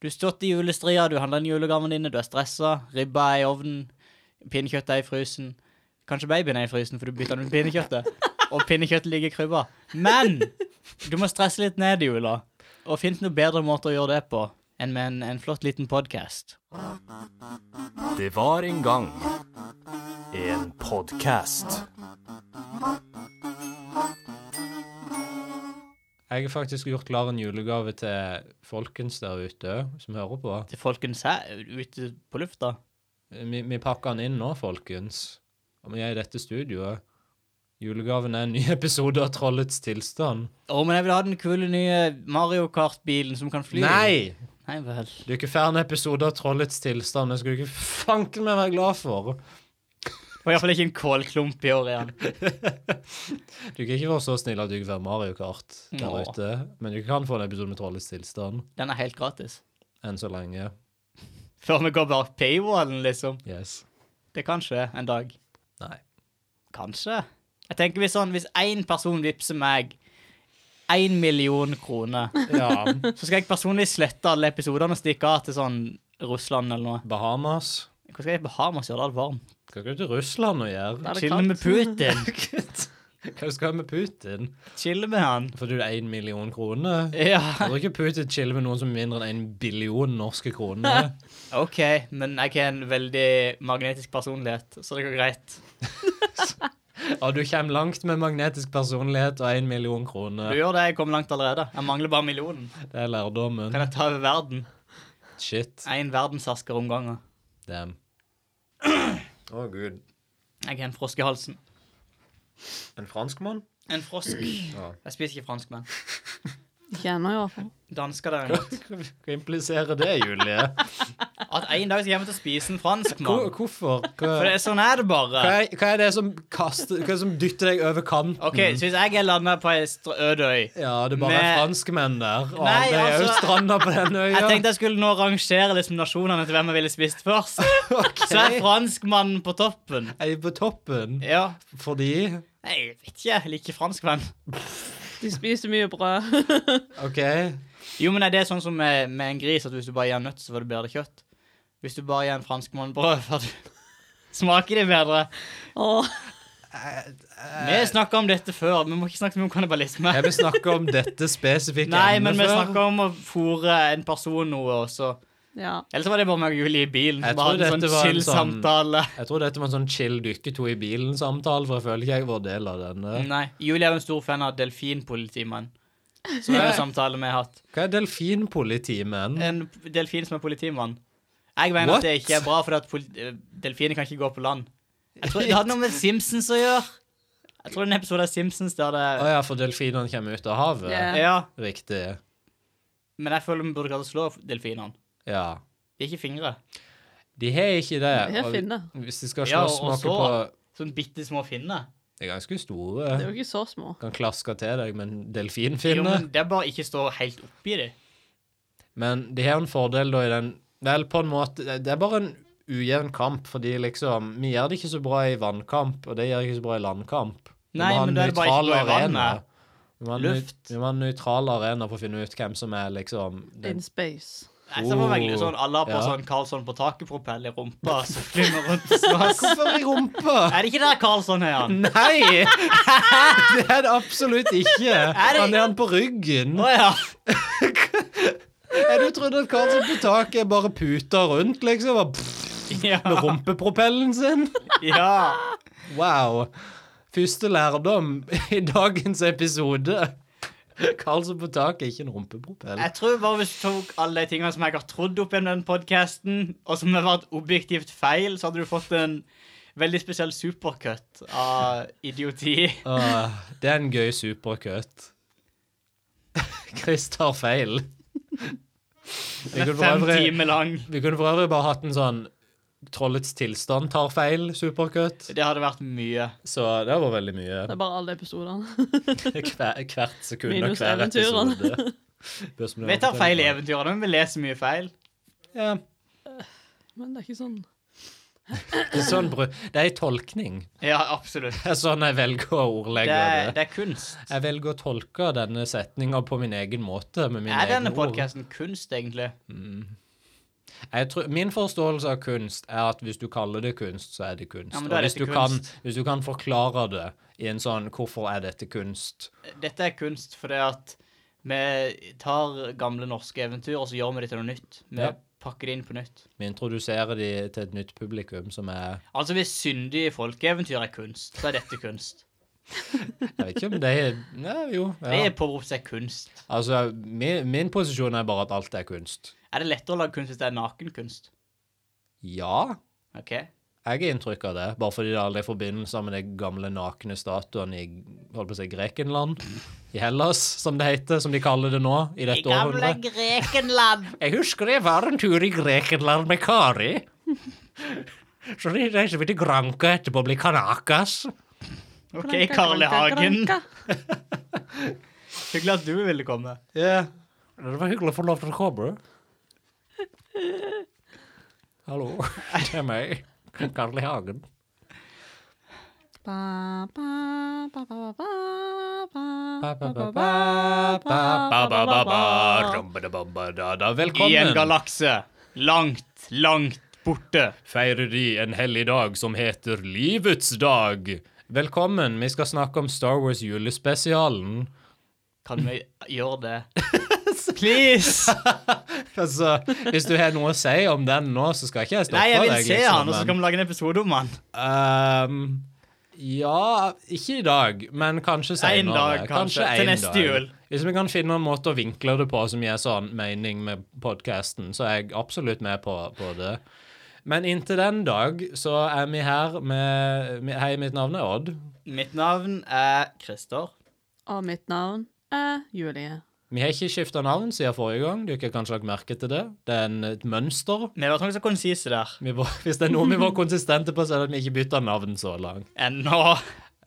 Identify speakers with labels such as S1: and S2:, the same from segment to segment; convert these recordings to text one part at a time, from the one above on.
S1: Du har stått i julestria, du handler inn julegavene dine, du er stressa. Ribba er i ovnen, pinnekjøttet er i frysen. Kanskje babyen er i frysen, for du bytter den med pinnekjøttet. Og pinnekjøttet ligger i krybba. Men du må stresse litt ned i jula. Og finn noen bedre måter å gjøre det på enn med en, en flott liten podkast.
S2: Det var en gang en podkast.
S3: Jeg har faktisk gjort klar en julegave til folkens der ute som hører på.
S1: Til folkens her ute på lufta.
S3: Vi, vi pakker den inn nå, folkens. Og vi er i dette studioet. Julegaven er en ny episode av Trollets tilstand.
S1: Å, men jeg vil ha den kule nye Mario Kart-bilen som kan fly.
S3: Nei!
S1: Nei vel.
S3: Det er ikke ferdig en episode av Trollets tilstand. Det skulle du ikke fanken meg være glad for.
S1: Og iallfall ikke en kålklump i år igjen.
S3: Du kan ikke være så snill at du ikke får Mario Kart der
S1: Nå.
S3: ute. Men du kan få en episode med Trollets tilstand.
S1: Den er helt gratis.
S3: Enn så lenge.
S1: Før vi går bak paywallen, liksom.
S3: Yes.
S1: Det kan skje en dag.
S3: Nei.
S1: Kanskje. Jeg tenker Hvis sånn, hvis én person vippser meg én million kroner,
S3: Ja.
S1: så skal jeg personlig slette alle episodene og stikke av til sånn Russland eller noe.
S3: Bahamas.
S1: Hva skal jeg på Hamas gjøre? Det er varmt.
S3: Skal ikke du til Russland og gjøre?
S1: Chille med Putin.
S3: Hva skal du med Putin?
S1: Chille med han.
S3: Får du én million kroner?
S1: Ja.
S3: Jeg tror ikke Putin chiller med noen som er mindre enn en billion norske kroner.
S1: OK, men jeg har en veldig magnetisk personlighet, så det går greit.
S3: Og du kommer langt med magnetisk personlighet og én million
S1: Du
S3: kroner.
S1: gjør det. Jeg kom langt allerede. Jeg mangler bare millionen.
S3: Det er lærdommen.
S1: Kan jeg ta over verden?
S3: Shit.
S1: Én verdensasker om gangen.
S3: Damn. Å, gud.
S1: Jeg har en frosk i halsen.
S3: En franskmann?
S1: En frosk. Jeg spiser ikke franskmenn.
S4: Ikke ennå, i hvert fall.
S1: Dansker, derimot.
S3: Hva impliserer det, Julie?
S1: At en dag skal jeg til å spise en franskmann.
S3: Hvor, hvorfor?
S1: For
S3: Hva,
S1: det er sånn er det
S3: hva,
S1: bare.
S3: er, hva er det som kaster Hva er det som dytter deg over kanten?
S1: OK, så hvis jeg er landa på ei str- øde øy
S3: Ja, det bare er
S1: Med-
S3: franskmenn der. Og
S1: Nei,
S3: det er jo
S1: altså-
S3: stranda på den øya.
S1: Jeg tenkte jeg skulle nå rangere liksom nasjonene til hvem jeg ville spist først. Så er franskmannen på toppen.
S3: Jeg er på toppen
S1: Ja.
S3: fordi
S1: Nei, Jeg vet ikke. Jeg liker franskmenn.
S4: De spiser mye brød.
S3: OK.
S1: Jo, men er det sånn som med, med en gris, at hvis du bare gir en nøtt, så får du bedre kjøtt? Hvis du bare gir en franskmann brød, får du Smaker det bedre?
S4: Åh,
S1: Vi snakka om dette før. Vi må ikke snakke så mye om kannibalisme.
S3: Eh. Jeg vil snakke om dette spesifikke
S1: Nei, men vi
S3: før.
S1: snakker om å fôre en person noe, og så
S4: ja.
S1: Eller så var det bare meg og Julie i bilen
S3: Jeg
S1: som bare
S3: tror
S1: hadde en
S3: dette
S1: sånn
S3: var en
S1: chill-samtale.
S3: Jeg tror dette var en sånn chill dykke to i bilen-samtale, for jeg føler ikke jeg var del av denne.
S1: Nei, Julie er jo en stor fan av delfinpolitimann. Som er en samtale vi har hatt.
S3: Hva er delfinpolitimenn?
S1: En delfin som er politimann. Jeg mener
S3: What?
S1: at det ikke er bra, for at poli- eh, delfiner kan ikke gå på land. Jeg tror Det hadde noe med Simpsons å gjøre. Jeg tror det er en episode av Simpsons der det
S3: Å ja, for delfinene kommer ut av havet?
S4: Ja.
S1: Ja,
S3: Riktig.
S1: men jeg føler vi burde klart å slå delfinene.
S3: Ja.
S1: De har ikke fingre.
S3: De har ikke det.
S4: De har
S3: og
S4: finner.
S3: Hvis de skal
S1: Ja,
S3: slåss
S1: og
S3: noe
S1: så-
S3: på
S1: Sånn bitte små finner.
S3: De er ganske store.
S4: Det er jo ikke så små.
S3: Kan klaske til deg med en
S1: Jo,
S3: delfinfinne.
S1: men det er bare ikke stå helt oppi dem.
S3: Men de har jo en fordel da i den Vel, på en måte Det det er bare en ujevn kamp, fordi liksom Vi gjør det ikke så bra i vannkamp, og det gjør det ikke så bra i landkamp. Vi må
S1: Nei,
S3: ha
S1: men
S3: en
S1: da er det bare ikke
S3: nøytral
S1: bra i vannet.
S3: arena. Vi må ha en nøy-
S1: Luft.
S3: Vi må ha en nøytral arena for å finne ut hvem som er liksom
S4: In
S3: den,
S4: space.
S1: Jeg ser for meg litt sånn alle har på
S3: Ja.
S1: sånn Karlsson på taket-propell i rumpa, så flyr rundt og slåss.
S3: Hvorfor i rumpa?
S1: Er det ikke der Karlsson er han?
S3: Nei! Det er det absolutt ikke. Han er han på ryggen.
S1: Å ja.
S3: Jeg trodde at Karlsson på taket bare puta rundt, liksom. og pff, Med
S1: ja.
S3: rumpepropellen sin.
S1: ja.
S3: Wow. Første lærdom i dagens episode. Karlsson på taket er ikke en rumpepropell.
S1: Jeg tror bare hvis du tok alle de tingene som jeg har trodd opp gjennom den podkasten, og som har vært objektivt feil, så hadde du fått en veldig spesiell supercut av idioti.
S3: Åh, Det er en gøy supercut. Chris tar feil. Vi
S1: Den er
S3: kunne for
S1: fem
S3: øvrig,
S1: timer lang.
S3: vi kunne for øvrig bare hatt en sånn Trollets tilstand tar feil supercut.
S1: Det hadde vært mye.
S3: Så det var veldig mye.
S4: Det er bare alle episodene.
S3: Hver, hvert sekund og
S4: Minus
S3: hver
S4: eventyrene.
S3: episode. Spørs om det
S1: Vi
S3: var
S1: tar
S3: på
S1: feil i
S3: den.
S1: eventyrene, men vi leser mye feil.
S3: Ja.
S4: Men det er ikke sånn
S3: Det er sånn bru- Det er en tolkning.
S1: Ja, absolutt.
S3: Det er sånn jeg velger å
S1: Det
S3: ordlegge
S1: er,
S3: det.
S1: det er kunst.
S3: Jeg velger å tolke denne setninga på min egen måte. Med mine
S1: Er denne
S3: egne ord. Mm.
S1: podkasten kunst, egentlig?
S3: Jeg tror, min forståelse av kunst er at hvis du kaller det kunst, så er det kunst.
S1: Ja, men da
S3: og
S1: er det
S3: hvis du,
S1: ikke
S3: kan,
S1: kunst.
S3: hvis du kan forklare det i en sånn 'hvorfor er dette kunst'?
S1: Dette er kunst fordi at vi tar gamle norske eventyr, og så gjør vi det til noe nytt. Vi
S3: Ja.
S1: pakker det inn på nytt.
S3: Vi introduserer de til et nytt publikum som er
S1: Altså, hvis syndige folkeeventyr er kunst, så er dette kunst.
S3: Jeg vet ikke om det er Nei, jo.
S1: Det
S3: Ja.
S1: er påberopt seg kunst.
S3: Altså, min, min posisjon er bare at alt er kunst.
S1: Er det lettere å lage kunst hvis det er nakenkunst?
S3: Ja,
S1: OK.
S3: jeg har inntrykk av det, bare fordi det er alle forbindelser med de gamle nakne statuene i holdt på å si, Grekenland, i Hellas, som det heter, som de kaller det nå, i dette århundret.
S1: Grekenland!
S3: Jeg husker jeg var en tur i Grekenland med Kari. Så de reiser vi til Granca etterpå og blir kanakas.
S1: OK,
S4: Kranka,
S1: Carl I.
S4: kranka,
S1: Hagen.
S4: kranka.
S1: Hyggelig at du ville komme.
S3: Ja. Det var hyggelig å få lov til å komme. Hallo, det er meg, Karl I. Hagen.
S4: Ba, ba, ba, ba, ba, ba, ba, ba, ba.
S3: Ba-ba-ba-ba-ba-ba-ba-ba-ba-da-da.
S1: I en
S3: Velkommen!
S1: galakse. Langt, langt borte.
S3: Feirer de en hellig dag som heter Livets dag. Velkommen, vi skal snakke om Star Wars julespesialen.
S1: Kan vi gjøre det? Please!
S3: Altså, Hvis du har noe å si om den nå, så skal ikke jeg stoppe
S1: Nei, jeg vil
S3: deg. liksom,
S1: se han, og så
S3: men-
S1: kan vi lage en episode om han.
S3: Ehm, ja, ikke i dag, men kanskje senere.
S1: En dag, kanskje. Til
S3: en
S1: neste
S3: dag.
S1: jul.
S3: Hvis vi kan finne en måte å vinkle det på som gir sånn mening med podkasten, så er jeg absolutt med på, på det. Men inntil den dag så er vi her med med- Hei, mitt navn er Odd.
S1: Mitt navn er Christer.
S4: Og mitt navn er Julie.
S3: Vi har ikke skifta navn siden forrige gang. Du har kanskje lagt merke til det. Det er en, et mønster.
S1: Vi var så konsise der
S3: Vi var, hvis det er noe vi var konsistente på, så er det at vi ikke bytta navn så langt.
S1: ennå.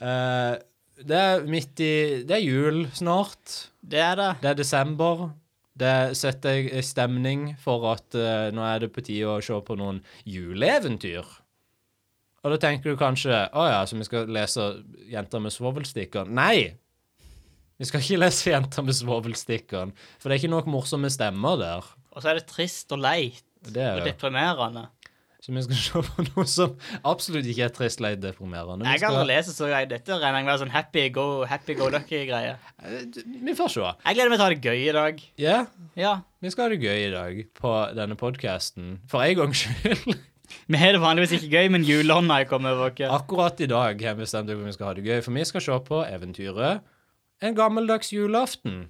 S3: Eh, det er midt i Det er jul snart.
S1: Det er det.
S3: Det er desember. Det setter jeg i stemning for at eh, nå er det på tide å se på noen juleeventyr. Og da tenker du kanskje å ja, så vi skal lese 'Jenter med svovelstikker'. Nei! Vi skal ikke lese 'Jenter med svovelstikkeren', for det er ikke nok morsomme stemmer der.
S1: Og så er det trist og leit
S3: Det
S1: og
S3: er det.
S1: deprimerende.
S3: Så vi skal se på noe som absolutt ikke er trist, leit, deprimerende. Vi,
S1: Jeg kan
S3: skal,
S1: aldri lese så greit. Dette regner jeg med er sånn happy go, happy go lucky-greie.
S3: Eh, vi får se.
S1: Jeg gleder meg til å ha det gøy i dag.
S3: Ja,
S1: Ja.
S3: vi skal ha det gøy i dag på denne podkasten. For en gangs skyld.
S1: Vi har det vanligvis ikke gøy, men julånda har kommet over oss.
S3: Akkurat i dag har vi bestemt at vi skal ha det gøy, for vi skal se på eventyret En gammeldags julaften.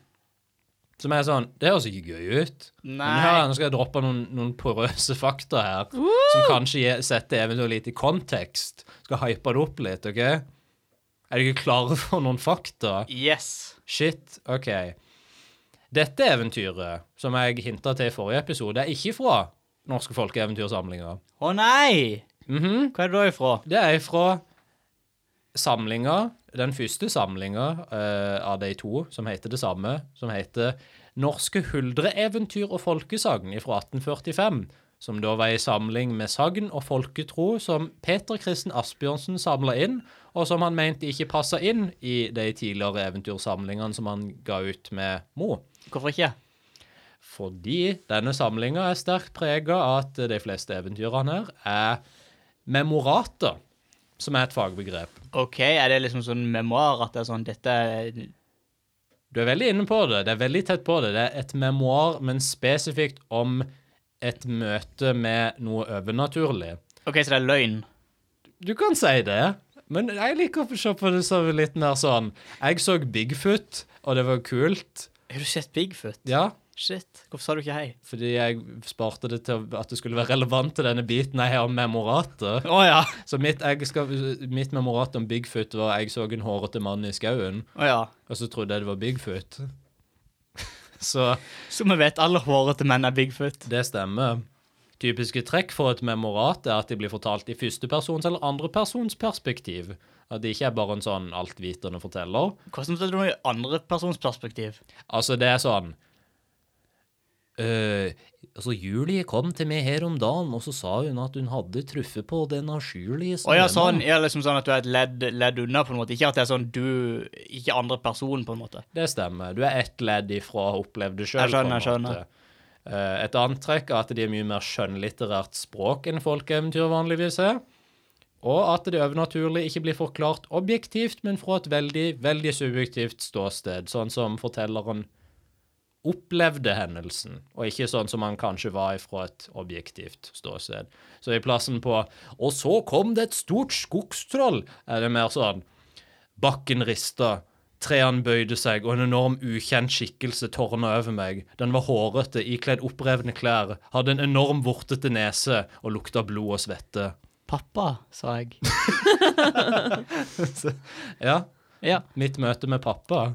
S3: Som er sånn Det høres ikke gøy ut. Men her,
S1: Nei.
S3: nå skal jeg droppe noen, noen porøse fakta her, som kanskje gir- setter eventyret litt i kontekst. Skal hype det opp litt, OK? Er dere klare for noen fakta?
S1: Yes.
S3: Shit, OK. Dette eventyret, som jeg hinta til i forrige episode, er ikke fra Norske folkeeventyrsamlinger.
S1: Å nei!
S3: Mhm.
S1: Hva er det da ifra?
S3: Det er fra samlinga, den første samlinga eh, av de to som heter det samme, som heter Norske huldreeventyr og folkesagn fra 1845. Som da var ei samling med sagn og folketro som Peter Kristen Asbjørnsen samla inn, og som han mente ikke passa inn i de tidligere eventyrsamlingene som han ga ut med Mo.
S1: Hvorfor ikke?
S3: Fordi denne samlinga er sterkt prega av at de fleste eventyrene her er memorater, som er et fagbegrep.
S1: OK, er det liksom sånn memoar at det er sånn Dette er
S3: Du er veldig inne på det. Det er veldig tett på det. Det er et memoar, men spesifikt om et møte med noe overnaturlig.
S1: OK, så det er løgn.
S3: Du kan si det, men jeg liker å se på det som litt mer sånn Jeg så Bigfoot, og det var kult.
S1: Har du sett Bigfoot?
S3: Ja,
S1: Shit. Hvorfor sa du ikke hei?
S3: fordi jeg sparte det til at det skulle være relevant til denne biten jeg har om memorater.
S1: Å ja.
S3: Så mitt, jeg skal, mitt memorat om Bigfoot var jeg så en hårete mann i skauen,
S1: Å ja.
S3: og så trodde jeg det var Bigfoot. så
S1: Som vi vet, alle hårete menn er Bigfoot.
S3: det stemmer. Typiske trekk for et memorat er at de blir fortalt i førstepersons eller andrepersons perspektiv. At det ikke er bare en sånn altvitende forteller.
S1: Hvordan forteller du noe i andrepersonsperspektiv?
S3: Altså, det er sånn eh, altså, Julie kom til meg her om dagen, og så sa hun at hun hadde truffet på den avskyelige
S1: Å ja,
S3: snømannen.
S1: sånn. Ja, liksom sånn at du er et ledd, ledd unna, på en måte. Ikke at det er sånn du Ikke andre person, på en måte.
S3: Det stemmer. Du er ett ledd ifra å oppleve det sjøl.
S1: Jeg skjønner, jeg skjønner.
S3: Eh, Et annet trekk er at de er mye mer skjønnlitterært språk enn folkeeventyr vanligvis er. Og at det overnaturlige ikke blir forklart objektivt, men fra et veldig, veldig subjektivt ståsted, sånn som fortelleren opplevde hendelsen, og ikke sånn som han kanskje var fra et objektivt ståsted. Så i plassen på 'Og så kom det et stort skogstroll', er det mer sånn Bakken rista, trærne bøyde seg, og en enorm ukjent skikkelse tårna over meg. Den var hårete, ikledd opprevne klær, hadde en enorm vortete nese og lukta blod og svette.
S1: Pappa, sa jeg.
S3: Ja,
S1: Ja.
S3: mitt møte med pappa.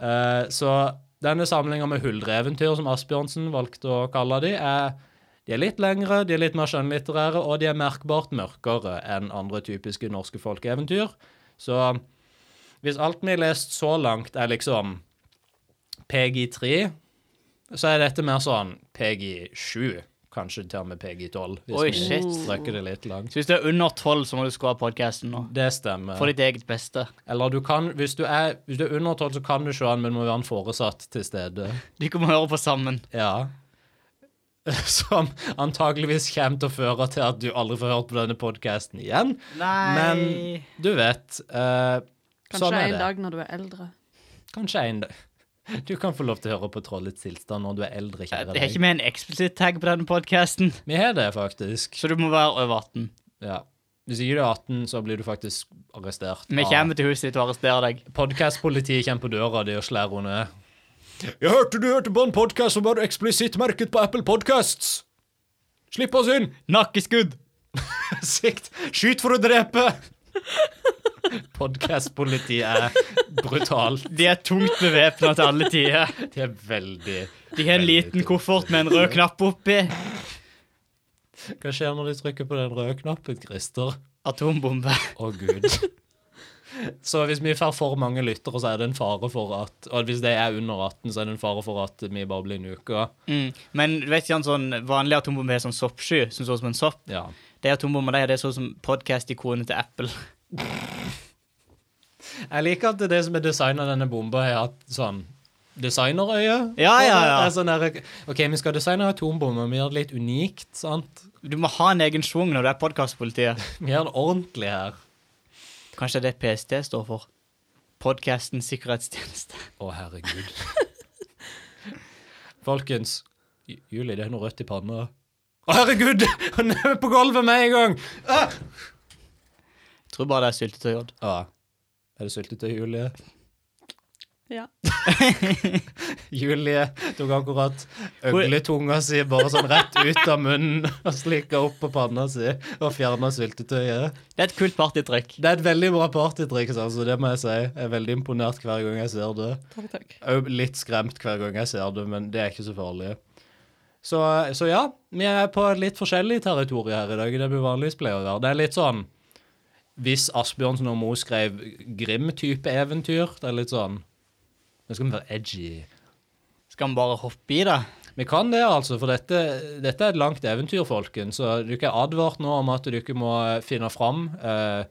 S3: Eh, så denne samlinga med huldreeventyr, som Asbjørnsen valgte å kalle de, er de er litt lengre, de er litt mer skjønnlitterære, og de er merkbart mørkere enn andre typiske norske folkeeventyr. Så hvis alt vi har lest så langt, er liksom PG3, så er dette mer sånn PG7, kanskje til og med PG12, hvis
S1: Oi,
S3: vi
S1: shit.
S3: strekker det litt langt.
S1: Så hvis du er under tolv, så må du skru av podkasten nå.
S3: Det stemmer.
S1: For ditt eget beste.
S3: Eller du kan, hvis du er, hvis du er under 12, så kan du se den, men må være en foresatt til stede.
S1: Du kommer høre på sammen.
S3: Ja. Som antakeligvis kommer til å føre til at du aldri får hørt på denne podkasten igjen.
S1: Nei
S3: Men du vet eh,
S4: Kanskje
S3: Sånn er
S4: en
S3: det.
S4: dag når du er eldre.
S3: Kanskje en dag. Du kan få lov til å høre på Trollets tilstand når du er eldre. kjære
S1: Det er
S3: deg.
S1: ikke med en eksplisitt tag på denne podkasten,
S3: Vi har det, faktisk.
S1: så du må være over 18.
S3: Ja. Hvis ikke du er 18, så blir du faktisk arrestert.
S1: Vi kommer til huset ditt og arresterer deg.
S3: Podkastpolitiet kommer på døra di og slår henne ned. Jeg hørte du hørte på en podkast som var eksplisitt merket på Apple Podcasts. Slipp oss inn!
S1: Nakkeskudd!
S3: Sikt! Skyt for å drepe! Podkastpolitiet er brutalt.
S1: De er tungt bevæpna til alle tider.
S3: De er veldig
S1: De har en liten koffert med en rød knapp oppi.
S3: Hva skjer når de trykker på den røde knappen, Christer?
S1: Atombombe.
S3: Å, gud. Så hvis vi får for mange lyttere, så er det en fare for at Og hvis de er under 18, så er det en fare for at vi bare blir nuka.
S1: Mm. Men du vet ikke, en sånn vanlig atombombe er sånn soppsky, som så ut som en sopp.
S3: Ja.
S1: Det er atombomber, det er det sånn som podkast-ikonet til Apple.
S3: Jeg liker at det er det som er designet av denne bomba, har hatt sånn designerøye.
S1: Ja, ja, ja.
S3: Det er Sånn der, OK, vi skal designe atombomber, men vi gjør det litt unikt, sant?
S1: Du må ha en egen schwung når du er podkastpolitiet.
S3: Vi gjør det ordentlig her.
S1: Kanskje det er det PST står for? Podkastens sikkerhetstjeneste.
S3: Å, herregud. Folkens, Ju- Julie, det er noe rødt i panna. Å, herregud! Han er på gulvet med en gang!
S1: Jeg tror bare det er syltetøy. Odd.
S3: Ja. Er det syltetøy, Julie?
S4: Ja.
S3: Julie tok akkurat øgletunga si bare sånn rett ut av munnen og slikka opp på panna si og fjerna syltetøyet.
S1: Det er et kult partytrykk.
S3: Det er et veldig bra partytriks, altså. Det må jeg si. Jeg er veldig imponert hver gang jeg ser det.
S4: Takk, takk.
S3: Jeg er jo litt skremt hver gang jeg ser det, men det er ikke så farlig. Så, så ja, vi er på et litt forskjellig territorium her i dag enn det vi vanligvis pleier å være. Det er litt sånn Hvis Asbjørnsen og Moe skrev Grim-type eventyr, det er litt sånn Nå skal vi være edgy.
S1: Skal vi bare hoppe i det?
S3: Vi kan det, altså, for dette, dette er et langt eventyr, folkens. Så dere er advart nå om at dere må finne fram eh,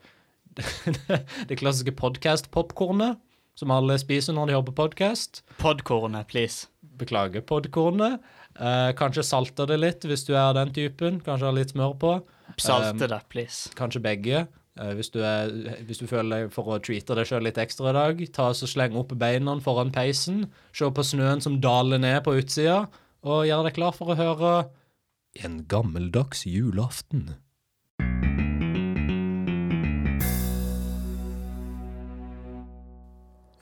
S3: det klassiske podkast-popkornet som alle spiser når de hører på podkast.
S1: Podkornet, please.
S3: Beklager podkornet. Eh, kanskje salter det litt hvis du er den typen. Kanskje har litt smør på. Eh,
S1: Salte det, please.
S3: Kanskje begge. Eh, hvis, du er, hvis du føler deg for å treate deg sjøl litt ekstra i dag, ta og så sleng opp beina foran peisen. Se på snøen som daler ned på utsida, og gjør deg klar for å høre En gammeldags julaften.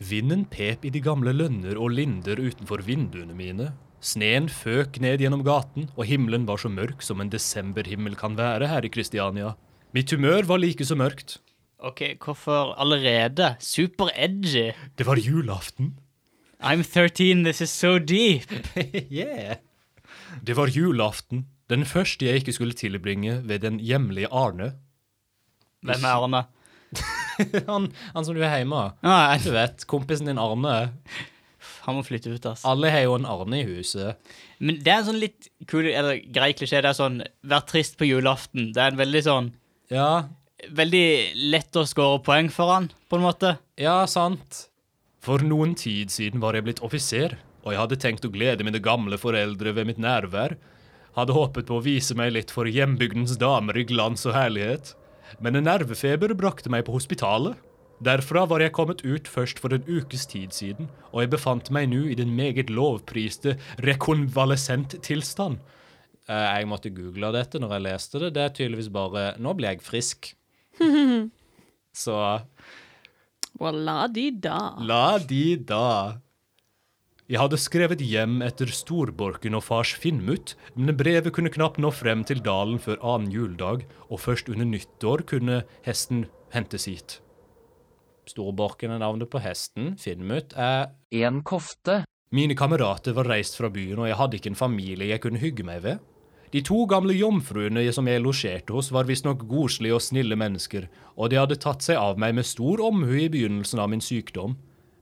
S3: Vinden pep i de gamle lønner og linder utenfor vinduene mine. Sneen føk ned gjennom gaten, og himmelen var så mørk som en desemberhimmel kan være her i Kristiania. Mitt humør var like så mørkt.
S1: OK, hvorfor allerede? Super edgy.
S3: Det var julaften.
S1: I'm 13, this is so deep.
S3: yeah. Det var julaften, den første jeg ikke skulle tilbringe ved den hjemlige Arne.
S1: Hvem er Arne?
S3: han, han som du er hjemme av.
S1: Ah,
S3: Du vet, kompisen din Arne.
S1: Han må flytte ut, ass.
S3: Alle har jo en Arne i huset.
S1: Men det er en sånn litt kul, eller grei klisjé. Det er sånn 'vær trist på julaften'. Det er en veldig sånn
S3: Ja,
S1: Veldig lett å score poeng for han, på en måte.
S3: ja, sant. For noen tid siden var jeg blitt offiser, og jeg hadde tenkt å glede mine gamle foreldre ved mitt nærvær. Hadde håpet på å vise meg litt for hjembygdens damer i glans og herlighet. Men en nervefeber brakte meg på hospitalet. Derfra var jeg kommet ut først for en ukes tid siden, og jeg befant meg nå i den meget lovpriste rekonvalesent tilstand. Eh, Jeg måtte google dette når jeg leste det. Det er tydeligvis bare 'nå ble jeg frisk'. Så
S4: Voilà di da.
S3: la de da. Jeg hadde skrevet hjem etter storborken og fars Finnmut, men brevet kunne knapt nå frem til dalen før annen juledag, og først under nyttår kunne hesten hentes hit. Storborken er navnet på hesten. Finnmut er
S5: En kofte.
S3: mine kamerater var reist fra byen, og jeg hadde ikke en familie jeg kunne hygge meg ved. De to gamle jomfruene som jeg losjerte hos, var visstnok godslige og snille mennesker, og de hadde tatt seg av meg med stor omhu i begynnelsen av min sykdom.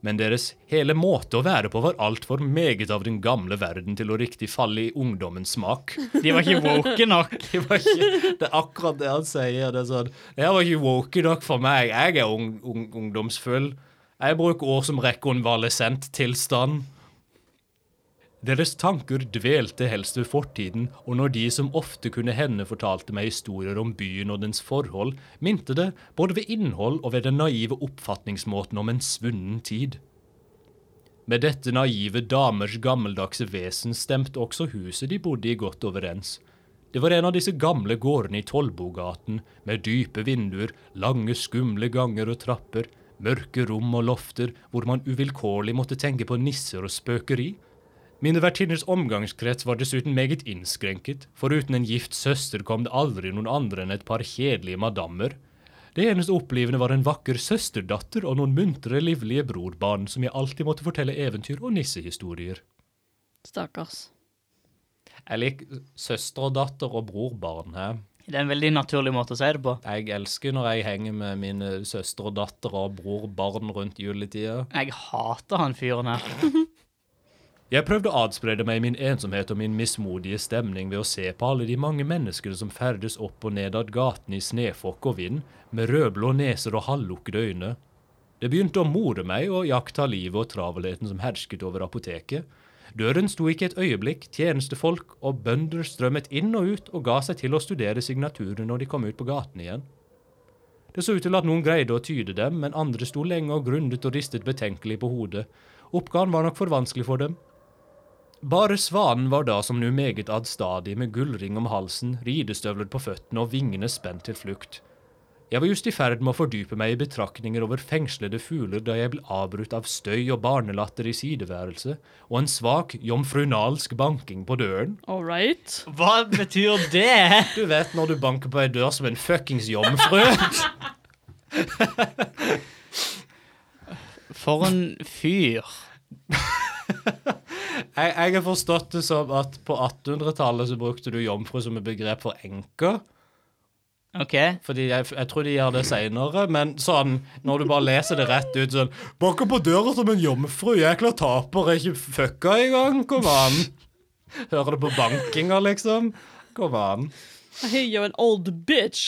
S3: Men deres hele måte å være på var altfor meget av den gamle verden til å riktig falle i ungdommens smak.
S1: De var ikke woke nok.
S3: Det, var ikke, det er akkurat det han sier. Det er sånn Det her var ikke woke nok for meg. Jeg er ung, ung, ungdomsfull. Jeg bruker ord som rekonvalesent tilstand. Deres tanker dvelte helst ved fortiden, og når de som ofte kunne hende fortalte meg historier om byen og dens forhold, minte det både ved innhold og ved den naive oppfatningsmåten om en svunnen tid. Med dette naive damers gammeldagse vesen stemte også huset de bodde i godt overens. Det var en av disse gamle gårdene i Tollbogaten, med dype vinduer, lange, skumle ganger og trapper, mørke rom og lofter hvor man uvilkårlig måtte tenke på nisser og spøkeri. Mine vertinners omgangskrets var dessuten meget innskrenket. Foruten en gift søster kom det aldri noen andre enn et par kjedelige madammer. Det eneste opplivende var en vakker søsterdatter og noen muntre, livlige brorbarn som jeg alltid måtte fortelle eventyr og nissehistorier.
S4: Stakkars.
S3: Jeg liker søster og datter og brorbarn her.
S1: Det er en veldig naturlig måte å si det på.
S3: Jeg elsker når jeg henger med mine søstre og datter og brorbarn rundt juletida.
S1: Jeg hater han fyren her.
S3: Jeg prøvde å adsprede meg min ensomhet og min mismodige stemning ved å se på alle de mange menneskene som ferdes opp og ned ad gatene i snøfokk og vind, med rødblå neser og halvlukkede øyne. Det begynte å more meg og jakta livet og travelheten som hersket over apoteket. Døren sto ikke et øyeblikk, tjenestefolk og bønder strømmet inn og ut og ga seg til å studere signaturene når de kom ut på gaten igjen. Det så ut til at noen greide å tyde dem, men andre sto lenge og grundet og ristet betenkelig på hodet. Oppgaven var nok for vanskelig for dem, bare svanen var da som nu meget adstadig med gullring om halsen, ridestøvler på føttene og vingene spent til flukt. Jeg var just i ferd med å fordype meg i betraktninger over fengslede fugler da jeg ble avbrutt av støy og barnelatter i sideværelset, og en svak, jomfrunalsk banking på døren.
S4: All right.
S1: Hva betyr det?
S3: Du vet når du banker på ei dør som en fuckings jomfru.
S1: For en fyr.
S3: Jeg, jeg har forstått det som at på 1800-tallet så brukte du jomfru som et begrep for enker.
S1: OK.
S3: Fordi jeg, jeg tror de gjør det seinere, men sånn når du bare leser det rett ut sånn Banker på døra som en jomfru, jækla taper, er ikke fucka engang, kom an. Hører det på bankinga, liksom. Kom an.
S4: I hear you're an old bitch.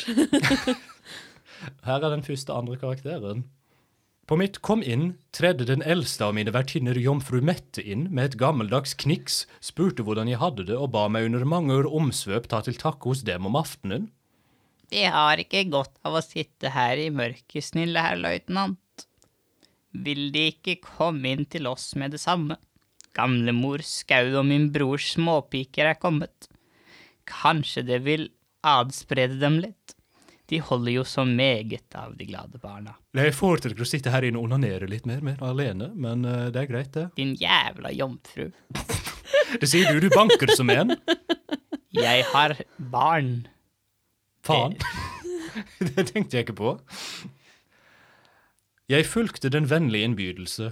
S3: Her er den første andre karakteren. På mitt kom inn tredde den eldste av mine vertinner jomfru Mette inn med et gammeldags kniks, spurte hvordan jeg hadde det og ba meg under mange øre omsvøp ta til takke hos dem om aftenen.
S1: Vi har ikke godt av å sitte her i mørket, snille herr løytnant. Vil De ikke komme inn til oss med det samme? Gamlemor Skau og min brors småpiker er kommet. Kanskje det vil adsprede dem litt? De holder jo så meget av de glade barna.
S3: Jeg foretrekker å sitte her inne og onanere litt mer, mer alene, men eh, det er greit, det.
S1: Din jævla jomfru.
S3: Det sier du, du banker som en.
S1: Jeg har barn.
S3: Faen. Det tenkte jeg ikke på. Jeg fulgte den vennlige innbydelse.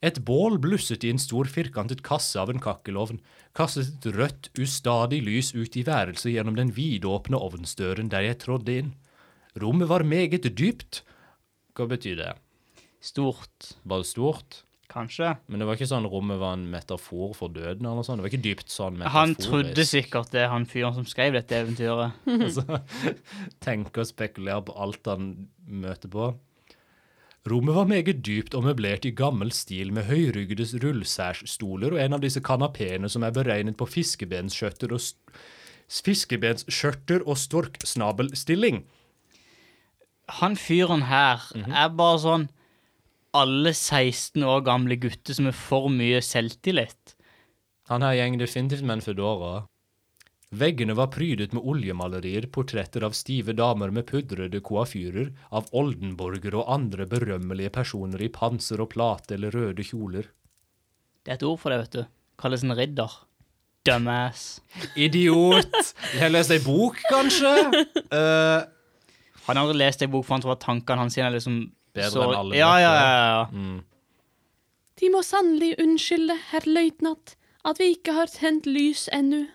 S3: Et bål blusset i en stor firkantet kasse av en kakkelovn, kastet et rødt, ustadig lys ut i værelset gjennom den vidåpne ovnsdøren der jeg trådde inn. Rommet var meget dypt. Hva betyr det?
S1: Stort.
S3: Var det stort?
S1: Kanskje.
S3: Men det var ikke sånn rommet var en metafor for døden eller noe sånt. Det var ikke dypt sånn
S1: Han
S3: metaforisk.
S1: trodde sikkert det, han fyren som skrev dette eventyret.
S3: Altså, tenker og spekulerer på alt han møter på. Rommet var meget dypt og møblert i gammel stil med høyryggedes rullsærsstoler og en av disse kanapene som er beregnet på fiskebenskjøtter og, st- fiskebenskjørter og storksnabelstilling.
S1: Han fyren her
S3: Mhm.
S1: er bare sånn alle 16 år gamle gutter som er for mye selvtillit.
S3: Han her gjeng definitivt med en fedora. Veggene var prydet med oljemalerier, portretter av stive damer med pudrede koafyrer, av oldenborgere og andre berømmelige personer i panser og plate eller røde kjoler.
S1: Det er et ord for det, vet du. Kalles en ridder. Dumbass.
S3: Idiot! Jeg har lest ei bok, kanskje? Eh,
S1: Han har aldri lest ei bok, for han tror at tankene hans er liksom
S3: Bedre
S1: så-
S3: enn alle Mm.
S1: Ja,
S3: andre.
S1: ja, ja. ja.
S5: De må sannelig unnskylde, herr løytnant, at vi ikke har tent lys ennå.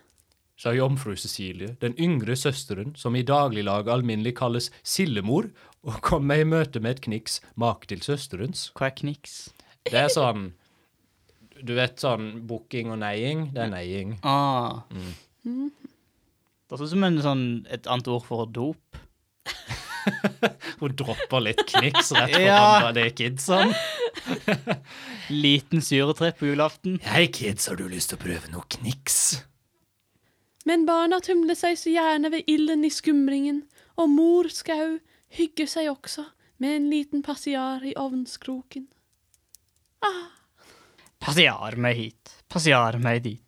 S3: sa jomfru Cecilie, den yngre søsteren, som i dagliglaget alminnelig kalles Sillemor, og kom meg i møte med et kniks make til søsterens.
S1: Hva er kniks?
S3: Det er sånn Du vet sånn booking og neiing? Det er neiing.
S1: Ah. Det er sånn som en, sånn, et annet ord for dop.
S3: Hun dropper litt kniks rett
S1: Ja.
S3: foran de kidsa.
S1: Liten syretripp på julaften.
S3: Hei, kids, har du lyst til å prøve noe kniks?
S5: Men barna tumler seg så gjerne ved ilden i skumringen, og mor skau hygger seg også med en liten passiar i ovnskroken.
S1: Passiar meg hit, passiar meg dit.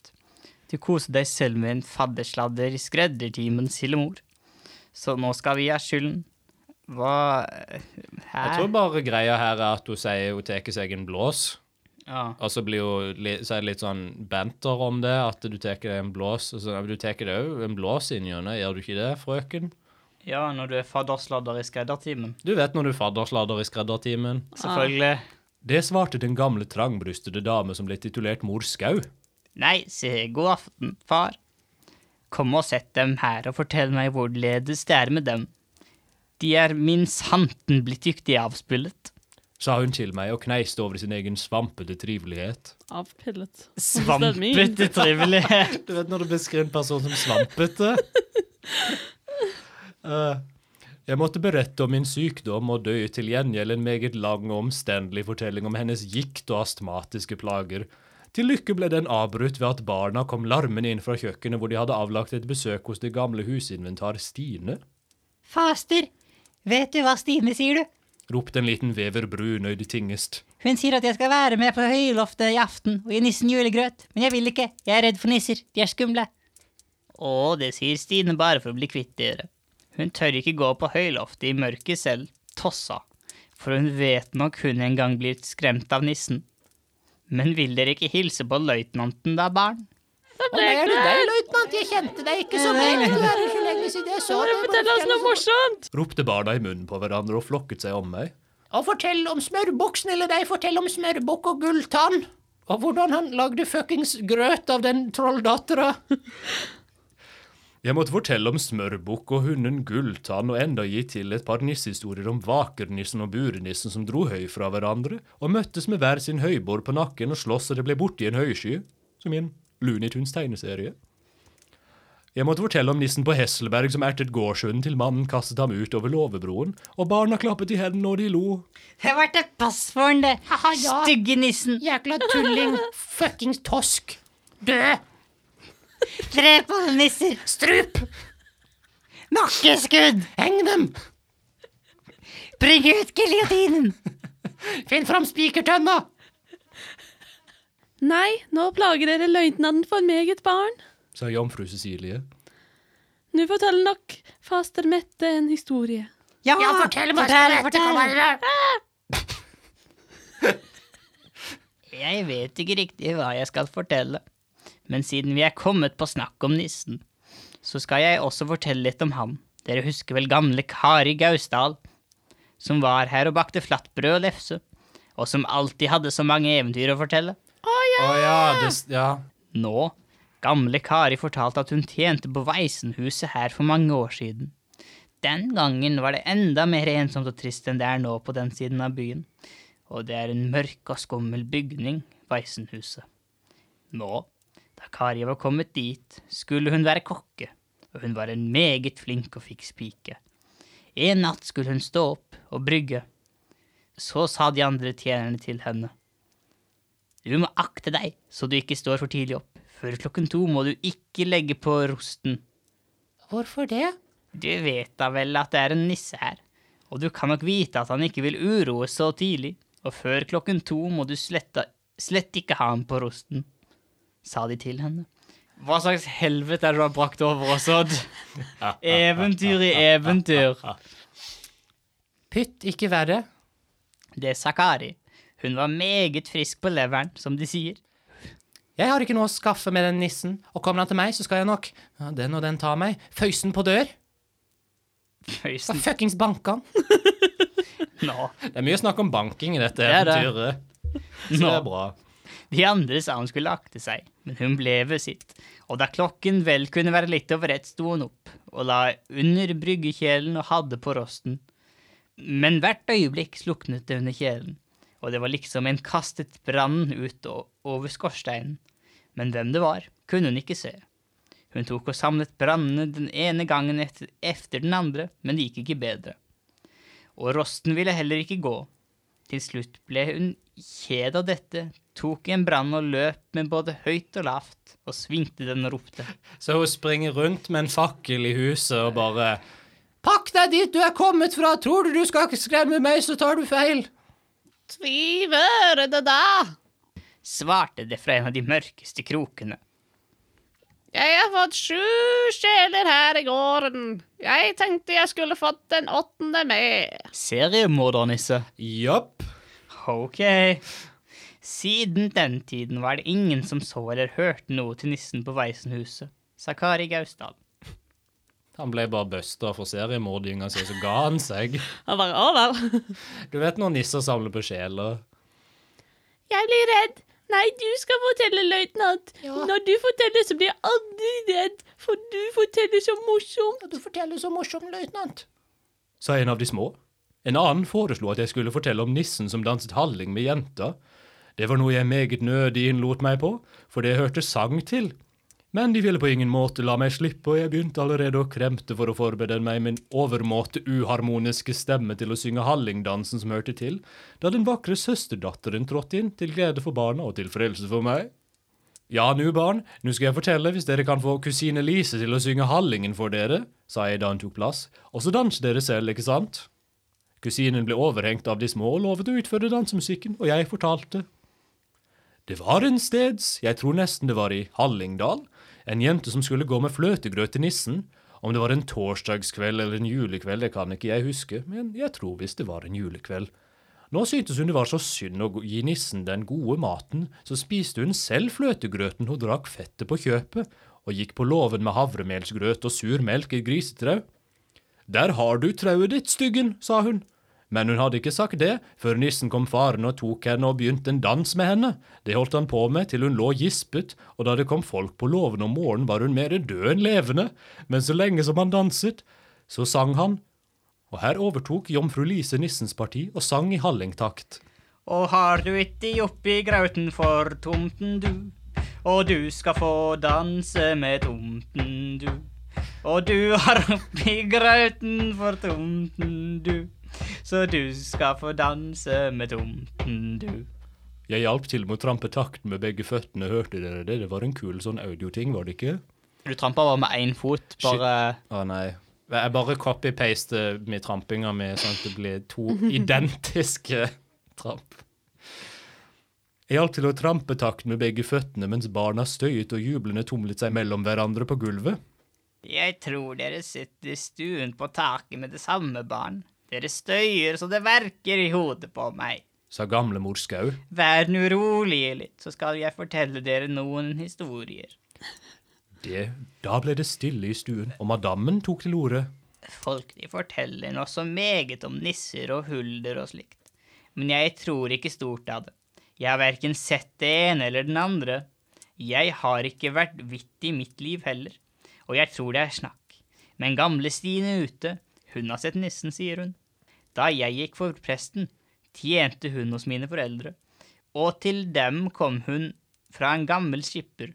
S1: Du koser deg selv med en faddersladder i skreddertimen, Sillemor. Så nå skal vi ha skylden. Hva eh, Hæ?
S3: Jeg tror bare greia her er at hun sier hun tar seg en blås.
S1: ja.
S3: Og så blir jo li- så er det litt sånn banter om det, at du tar deg en blås. Og så, ja, men du tar deg òg en blås inn gjennom, gjør du ikke det, frøken?
S1: ja, når du er faddersladder i skreddertimen.
S3: Du vet når du faddersladder i skreddertimen.
S1: Selvfølgelig.
S3: Det svarte den gamle trangbrystede dame som ble titulert Mor Skau.
S1: Nei, si god aften, far. Kom og sett dem her og fortell meg hvorledes det er med dem. De er min santen blitt dyktig avspillet.
S3: Sa hun til meg og kneiste over sin egen svampete trivelighet.
S5: Avpillet. mean?
S1: Svampete trivelighet.
S3: Du vet når du beskriver en person som svampete? Eh, jeg måtte berette om min sykdom og dø til gjengjeld en meget lang og omstendelig fortelling om hennes gikt og astmatiske plager. Til lykke ble den avbrutt ved at barna kom larmende inn fra kjøkkenet hvor de hadde avlagt et besøk hos det gamle husinventar Stine,
S6: Faster, vet du hva Stine sier, du?
S3: ropte en liten vever brunøyd tingest.
S6: Hun sier at jeg skal være med på høyloftet i aften og gi nissen julegrøt, men jeg vil ikke, jeg er redd for nisser, de er skumle.
S1: Å, det sier Stine bare for å bli kvitt dere. Hun tør ikke gå på høyloftet i mørket selv, tossa, for hun vet nok hun en gang blir skremt av nissen. Men vil dere ikke hilse på løytnanten da, barn?
S7: Er det deg, løytnant? Jeg kjente deg ikke så lenge. Du er her så lenge siden jeg så deg.
S5: Fortell oss noe morsomt!
S3: Ropte barna i munnen på hverandre og flokket seg om meg.
S7: Og fortell om smørbukk, snille deg. Fortell om smørbukk og gulltann. Og hvordan han lagde fuckings grøt av den trolldattera.
S3: Jeg måtte fortelle om smørbukk og hunden Gulltann og enda gi til et par nissehistorier om vakernissen og burenissen som dro høy fra hverandre og møttes med hver sin høybord på nakken og sloss så det ble borti en høysky, som i en Looney Tunes tegneserie. Jeg måtte fortelle om nissen på Hesselberg som ertet gårdshunden til mannen kastet ham ut over låvebroen, og barna klappet i hendene og de lo.
S6: Det var til pass for henne, det.
S7: Haha, ja.
S6: Stygge nissen.
S7: Jækla tulling. Fuckings tosk. Dø.
S6: Drep alle nisser.
S7: Strup.
S6: Nakkeskudd.
S7: Heng dem.
S6: Bring ut giljotinen.
S7: Finn fram spikertønna.
S5: Nei, nå plager dere løytnanten for meget barn.
S3: Sa jomfru Cecilie.
S5: Nå forteller nok faster Mette en historie.
S7: Ja, fortell meg
S6: fortell,
S7: dette kan
S6: fortell.
S7: være.
S1: Jeg vet ikke riktig hva jeg skal fortelle, men siden vi er kommet på snakk om nissen, så skal jeg også fortelle litt om han. Dere husker vel gamle Kari Gausdal, som var her og bakte flatbrød og lefse, og som alltid hadde så mange eventyr å fortelle?
S3: Å ja, det, s- ja.
S1: Nå, gamle Kari fortalte at hun tjente på Veisenhuset her for mange år siden. Den gangen var det enda mer ensomt og trist enn det er nå på den siden av byen. og det er en mørk og skummel bygning, Vaisenhuset. Nå, da Kari var kommet dit, skulle hun være kokke, og hun var en meget flink og fiks pike. En natt skulle hun stå opp og brygge. Så sa de andre tjenerne til henne. Du må akte deg, så du ikke står for tidlig opp. Før klokken to må du ikke legge på rosten.
S8: Hvorfor det?
S1: Du vet da vel at det er en nisse her, og du kan nok vite at han ikke vil uroe så tidlig, og før klokken to må du slette, slett ikke ha ham på rosten, sa de til henne.
S9: Hva slags helvete er det du har brakt over oss, Odd? Eventyr i eventyr.
S8: Pytt ikke verre.
S1: Det sa Kari. Hun var meget frisk på leveren, som de sier.
S8: Jeg har ikke noe å skaffe med den nissen, og kommer han til meg, så skal jeg nok ja, Den og den tar meg. Føysen på dør.
S1: Føysen
S8: Fuckings banka han.
S1: nå.
S3: Det er mye snakk om banking i dette
S9: er det.
S3: eventyret. Så det
S1: Nå.
S3: er bra.
S1: De andre sa hun skulle akte seg, men hun ble ved sitt, og da klokken vel kunne være litt over ett, sto hun opp og la under bryggekjelen og hadde på rosten. Men hvert øyeblikk sluknet det under kjelen, og det var liksom en kastet brann ut o- over skorsteinen. Men hvem det var, kunne hun ikke se. Hun tok og samlet brannene den ene gangen etter, efter den andre, men det gikk ikke bedre. Og rosten ville heller ikke gå, til slutt ble hun kjed av dette, tok en brann og løp med både høyt og lavt, og svingte den og ropte.
S3: Så hun springer rundt med en fakkel i huset og bare
S8: Pakk deg dit du er kommet fra! Tror du du skal skremme meg, så tar du feil.
S7: Tviver det da?
S1: Svarte det fra en av de mørkeste krokene.
S7: Jeg har fått sju sjeler her i gården. Jeg tenkte jeg skulle fått den åttende med.
S9: Seriemordernisse.
S3: Jopp.
S1: Ok. Siden den tiden var det ingen som så eller hørte noe til nissen på Veisenhuset, sa Kari Gausdal.
S3: Han ble bare busta for seriemordinga si, så ga han seg.
S5: Han bare Å vel.
S3: Du vet når nisser samler på sjeler.
S5: Jeg blir redd. Nei, du skal fortelle, løytnant. Når du forteller, så blir jeg aldri redd, for du forteller så morsomt.
S8: Du forteller så morsom, løytnant.
S3: sa en av de små. En annen foreslo at jeg skulle fortelle om nissen som danset halling med jenta. Det var noe jeg meget nødig innlot meg på, for det hørte sang til. Men de ville på ingen måte la meg slippe, og jeg begynte allerede å kremte for å forberede meg min overmåte uharmoniske stemme til å synge hallingdansen som hørte til, da den vakre søsterdatteren trådte inn, til glede for barna og til frelse for meg. Ja, nu barn, nå skal jeg fortelle hvis dere kan få kusine Lise til å synge Hallingen for dere, sa jeg da hun tok plass, og så danser dere selv, ikke sant? Kusinen ble overhengt av de små og lovet å utføre dansemusikken, og jeg fortalte. Det var en steds, jeg tror nesten det var i Hallingdal, en jente som skulle gå med fløtegrøt til nissen, om det var en torsdagskveld eller en julekveld, det kan ikke jeg huske, men jeg tror visst det var en julekveld. Nå syntes hun det var så synd å gi nissen den gode maten, så spiste hun selv fløtegrøten og drakk fettet på kjøpet, og gikk på låven med havremelsgrøt og sur melk i grisetrau. Der har du trauet ditt, styggen, sa hun. Men hun hadde ikke sagt det før nissen kom farende og tok henne og begynte en dans med henne. Det holdt han på med til hun lå gispet, og da det kom folk på låven om morgenen var hun mer død enn levende, men så lenge som han danset, så sang han, og her overtok jomfru Lise nissens parti og sang i hallingtakt.
S1: Og har du ikke oppi grauten for tomten du, og du skal få danse med tomten du. Og du har oppi grauten for tomten du, så du skal få danse med tomten du.
S3: Jeg hjalp til med å trampe takten med begge føttene, hørte dere det? Det var en kul sånn audioting, var det ikke?
S9: Du trampa bare med én fot. Bare
S3: Å nei. Jeg bare copy-paster med trampinga mi, sånn at det blir to identiske tramp. Jeg hjalp til å trampe takten med begge føttene mens barna støyet og jublende tumlet seg mellom hverandre på gulvet.
S1: Jeg tror dere sitter i stuen på taket med det samme barn. Dere støyer så det verker i hodet på meg.
S3: Sa gamlemor Skau.
S1: Vær nå rolige litt, så skal jeg fortelle dere noen historier.
S3: Det, da ble det stille i stuen, og madammen tok til orde.
S1: Folk de forteller nå så meget om nisser og hulder og slikt, men jeg tror ikke stort av det. Jeg har verken sett det ene eller den andre. Jeg har ikke vært vidt i mitt liv heller, og jeg tror det er snakk. Men gamle Stine ute, hun har sett nissen, sier hun. Da jeg gikk for presten, tjente hun hos mine foreldre, og til dem kom hun fra en gammel skipper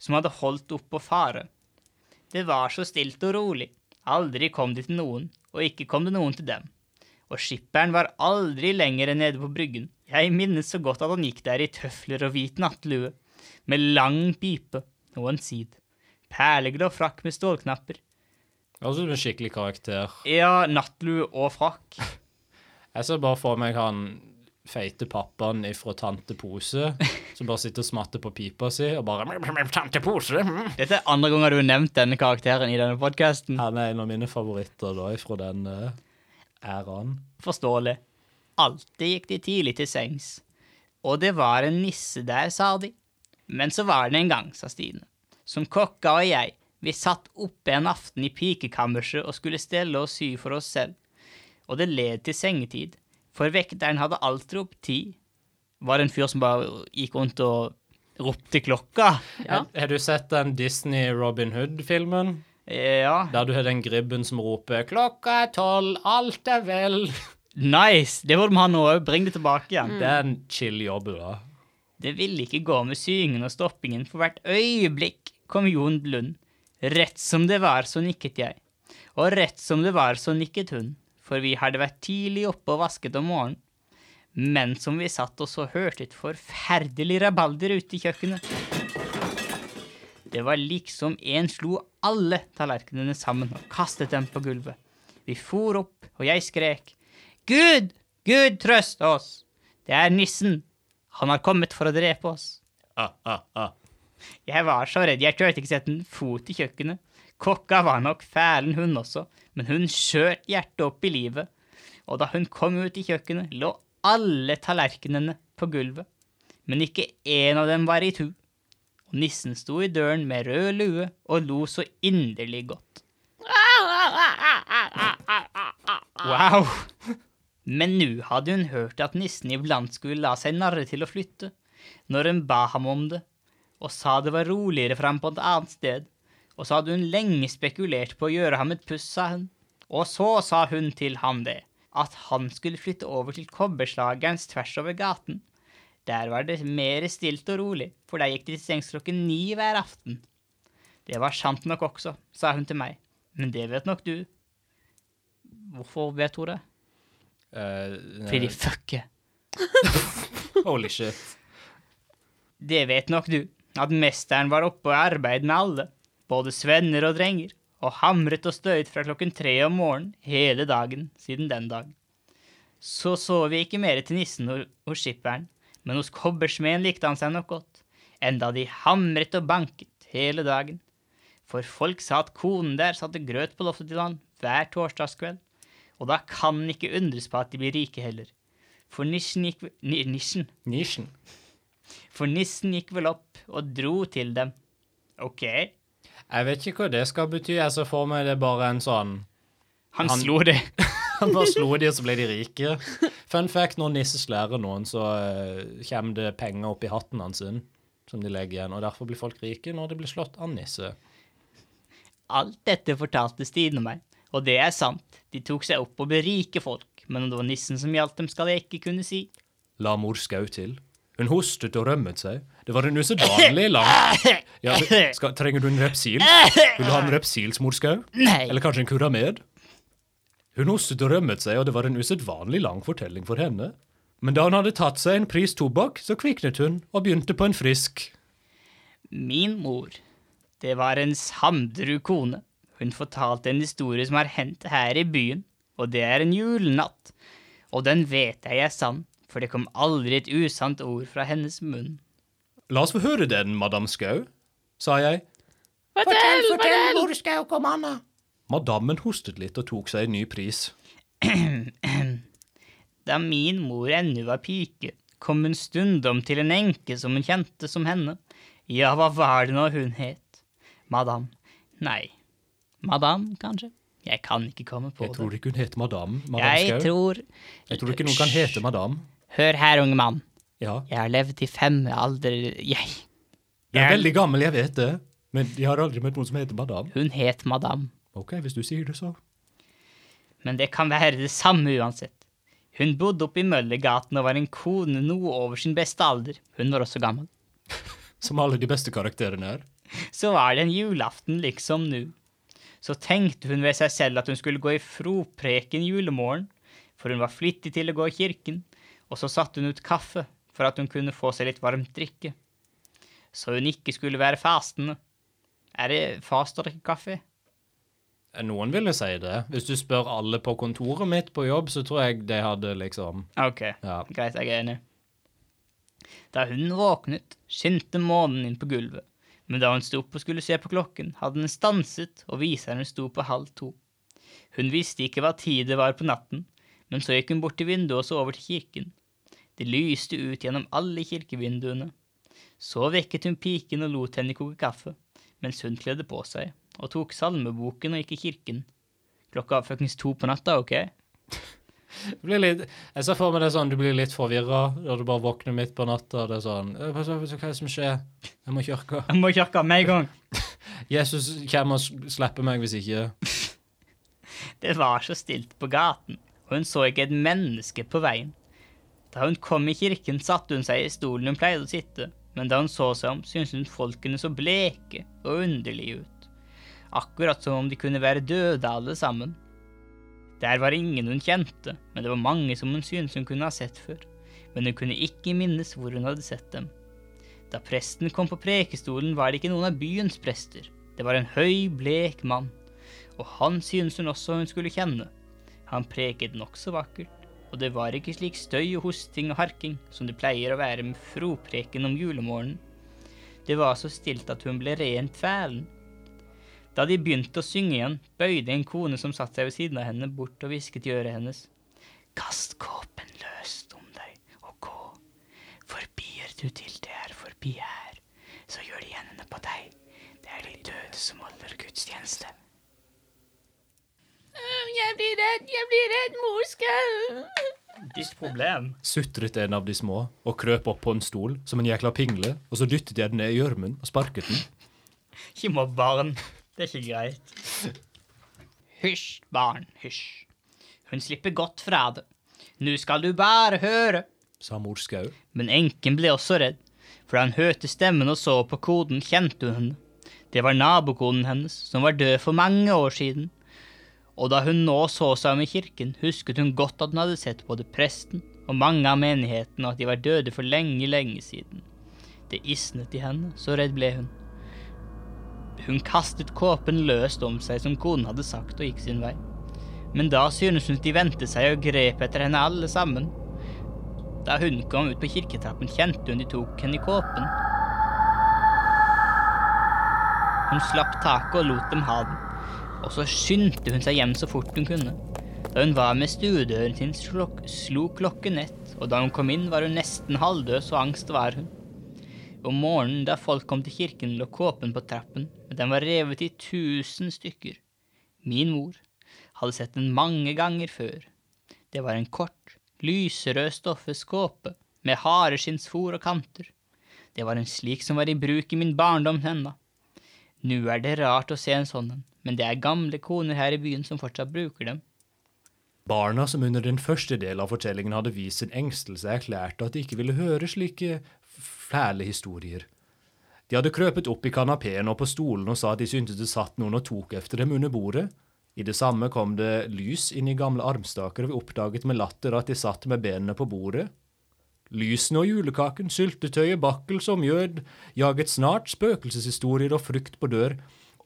S1: som hadde holdt opp på fare. Det var så stilt og rolig, aldri kom de til noen, og ikke kom det noen til dem. Og skipperen var aldri lenger enn nede på bryggen. Jeg minnes så godt at han gikk der i tøfler og hvit nattlue, med lang pipe og en sid, perlegrå frakk med stålknapper,
S3: Altså en skikkelig karakter.
S1: ja, nattlue og frakk.
S3: Jeg ser bare for meg han feite pappaen ifra Tante Pose, som bare sitter og smatter på pipa si, og bare Tante Pose! mm.
S1: Dette er andre ganger du har nevnt denne karakteren i denne podkasten.
S3: Han er en av mine favoritter da, ifra den eh, æraen.
S1: Forståelig. Alltid gikk de tidlig til sengs. Og det var en nisse der, sa de. Men så var det en gang, sa Stine. Som kokka og jeg, vi satt oppe en aften i pikekammerset og skulle stelle og sy for oss selv. Og det led til sengetid, for vekteren hadde alt ropt ti. Var det en fyr som bare gikk rundt og ropte klokka?
S5: Ja.
S3: Har du sett den Disney Robin Hood-filmen?
S1: Ja.
S3: Der du har den gribben som roper 'Klokka er tolv, alt er vel'.
S1: Nice! Det burde vi ha nå òg. Bring det tilbake igjen.
S3: Det er en chill jobb, da.
S1: Det ville ikke gå med syingen og stoppingen, for hvert øyeblikk kom Jon Blund. Rett som det var, så nikket jeg. Og rett som det var, så nikket hun, for vi hadde vært tidlig oppe og vasket om morgenen. Men som vi satt og så hørte et forferdelig rabalder ute i kjøkkenet. Det var liksom en slo alle tallerkenene sammen og kastet dem på gulvet. Vi for opp, og jeg skrek. Gud, Gud trøste oss! Det er nissen! Han har kommet for å drepe oss.
S3: Ah, ah, ah.
S1: Jeg var så redd jeg turte ikke sette en fot i kjøkkenet. Kokka var nok fælen hun også, men hun skjøt hjertet opp i livet. Og da hun kom ut i kjøkkenet, lå alle tallerkenene på gulvet. Men ikke én av dem var i tu. Og nissen sto i døren med rød lue og lo så inderlig godt. Wow! Men nå hadde hun hørt at nissen iblant skulle la seg narre til å flytte, når hun ba ham om det og sa det var roligere for ham på et annet sted. Og så hadde hun lenge spekulert på å gjøre ham et puss, sa hun. Og så sa hun til ham det, at han skulle flytte over til kobberslagerens tvers over gaten. Der var det mer stilt og rolig, for der gikk de til sengs klokken ni hver aften. Det var sant nok også, sa hun til meg, men det vet nok du. Hvorfor vet hun det?
S3: Eh,
S1: Fordi fucke.
S3: holy shit.
S1: Det vet nok du, at mesteren var oppe og arbeid med alle, både svenner og drenger, og hamret og støyet fra klokken tre om morgenen hele dagen siden den dag. Så så vi ikke mer til nissen hos hos skipperen, men hos kobbersmeden likte han seg nok godt, enda de hamret og banket hele dagen. For folk sa at konen der satte grøt på loftet til han hver torsdagskveld, og da kan han ikke undres på at de blir rike heller. For nissen gikk, ni, nissen,
S3: Nisjen.
S1: for nissen gikk vel opp og dro til dem. Ok.
S3: Jeg vet ikke hva det skal bety. Jeg ser for meg det er bare en sånn
S1: Han,
S3: Han-
S1: slo det.
S3: Han bare slo de, og så ble de rike. Fun fact, når Nisse slærer noen, så eh, kommer det penger opp i hatten hans sin, som de legger igjen, og derfor blir folk rike når de blir slått av Nisse.
S1: Alt dette fortalte Stine meg, og det er sant. De tok seg opp og ble rike folk, men om det var nissen som gjaldt dem, skal jeg ikke kunne si.
S3: La mor skau til. Hun hostet og rømmet seg. Det var en usedvanlig lang ja, det- skal, Trenger du en repsil? Vil du ha en repsilsmor skau?
S1: Nei.
S3: Eller kanskje en kuramed? Hun hostet og rømmet seg, og det var en usedvanlig lang fortelling for henne. Men da hun hadde tatt seg en pris tobakk, så kviknet hun og begynte på en frisk.
S1: Min mor. Det var en samdru kone. Hun fortalte en historie som har hendt her i byen, og det er en julenatt. Og den vet jeg er sann, for det kom aldri et usant ord fra hennes munn.
S3: La oss få høre den, madam Skau, sa jeg.
S7: Fortell, fortell, hvor skal jeg komme an?
S3: Madammen hostet litt og tok seg en ny pris.
S1: Da min mor ennå var pike, kom hun stundom til en enke som hun kjente som henne. Ja, hva var det nå hun het? Madam. Nei. Madam, kanskje? Jeg kan ikke komme på
S3: Jeg
S1: det.
S3: tror ikke hun het madam.
S1: Jeg
S3: madam Skau.
S1: tror
S3: Jeg tror ikke noen kan hete madam.
S1: Hør her, unge mann.
S3: Ja.
S1: Jeg har levd i fem alder... Jeg.
S3: Jeg er veldig gammel, jeg vet det. Men jeg har aldri møtt noen som heter madam.
S1: Hun het madam.
S3: Ok, hvis du sier det, så.
S1: Men det kan være det samme uansett. Hun bodde oppe i Møllegaten og var en kone noe over sin beste alder. Hun var også gammel.
S3: Som alle de beste karakterene er.
S1: Så var det en julaften liksom nu. Så tenkte hun ved seg selv at hun skulle gå i fropreken julemorgen, for hun var flittig til å gå i kirken, og så satte hun ut kaffe for at hun kunne få seg litt varmt drikke. Så hun ikke skulle være fastende. Er det fast å drikke kaffe?
S3: Eh, Noen ville si det. Hvis du spør alle på kontoret mitt på jobb, så tror jeg de hadde liksom
S1: Ok,
S3: Ja.
S1: greit, jeg er enig. Da hun våknet, skinte månen inn på gulvet, men da hun sto opp og skulle se på klokken, hadde den stanset, og viseren sto på halv to. Hun visste ikke hva tid det var på natten, men så gikk hun bort til vinduet og så over til kirken. Det lyste ut gjennom alle kirkevinduene. Så vekket hun piken og lot henne koke kaffe, mens hun kledde på seg, og tok salmeboken og gikk i kirken. Klokka var fuckings to på natta, ok?
S3: Du blir litt, Jeg ser for meg det er sånn du blir litt forvirra når du bare våkner midt på natta. Det er sånn «Øh, Hva hva- hva er det som skjer? Jeg må i kirka.
S1: Jeg må i kirka med en gang.
S3: Jesus kommer og s- slipper meg hvis ikke
S1: Det var så stilt på gaten, og hun så ikke et menneske på veien. Da hun kom i kirken, satte hun seg i stolen hun pleide å sitte, men da hun så seg om, syntes hun folkene så bleke og underlige ut. Akkurat som om de kunne være døde alle sammen. Der var ingen hun kjente, men det var mange som hun syntes hun kunne ha sett før. Men hun kunne ikke minnes hvor hun hadde sett dem. Da presten kom på prekestolen, var det ikke noen av byens prester. Det var en høy, blek mann og han syntes hun også hun skulle kjenne. Han preket nokså vakkert, og det var ikke slik støy og hosting og harking som det pleier å være med fropreken om julemorgenen. Det var så stilt at hun ble rent fælen. Da de begynte å synge igjen, bøyde en kone som satt seg ved siden av henne, bort og hvisket i øret hennes. Kast kåpen løst om deg og gå. Forbier du til det er forbi her, så gjør de hendene på deg. Det er de døde som holder gudstjeneste.
S5: Jeg blir redd, jeg blir redd, morskau.
S1: Ditt problem.
S3: sutret en av de små og krøp opp på en stol som en jækla pingle, og så dyttet jeg den ned i gjørmen og sparket den.
S1: Ikke mobb barn. Det er ikke greit. Hysj, barn, hysj. Hun slipper godt fra det. Nå skal du bare høre.
S3: Sa mor Skau.
S1: Men enken ble også redd, for da hun hørte stemmen og så på koden, kjente hun henne. Det var nabokonen hennes, som var død for mange år siden. Og da hun nå så seg om i kirken, husket hun godt at hun hadde sett både presten og mange av menigheten, og at de var døde for lenge, lenge siden. Det isnet i henne, så redd ble hun. Hun kastet kåpen løst om seg, som konen hadde sagt, og gikk sin vei. Men da synes hun de vendte seg og grep etter henne alle sammen. Da hun kom ut på kirketrappen, kjente hun de tok henne i kåpen. Hun slapp taket og lot dem ha den, og så skyndte hun seg hjem så fort hun kunne. Da hun var med stuedøren sin, slok- slo klokken ett, og da hun kom inn, var hun nesten halvdød, så angst var hun. Om morgenen da folk kom til kirken, lå kåpen på trappen, men den var revet i tusen stykker. Min mor hadde sett den mange ganger før. Det var en kort, lyserød stoffeskåpe med hareskinnsfor og kanter. Det var en slik som var i bruk i min barndom ennå. Nå er det rart å se en sånn en, men det er gamle koner her i byen som fortsatt bruker dem.
S3: Barna som under den første delen av fortellingen hadde vist sin engstelse, erklærte at de ikke ville høre slike fæle historier. De hadde krøpet opp i kanapeen og på stolen og sa at de syntes det satt noen og tok efter dem under bordet. I det samme kom det lys inn i gamle armstaker, og vi oppdaget med latter at de satt med benene på bordet. Lysene og julekaken, syltetøyet, bakkelse og mjød, jaget snart spøkelseshistorier og frykt på dør,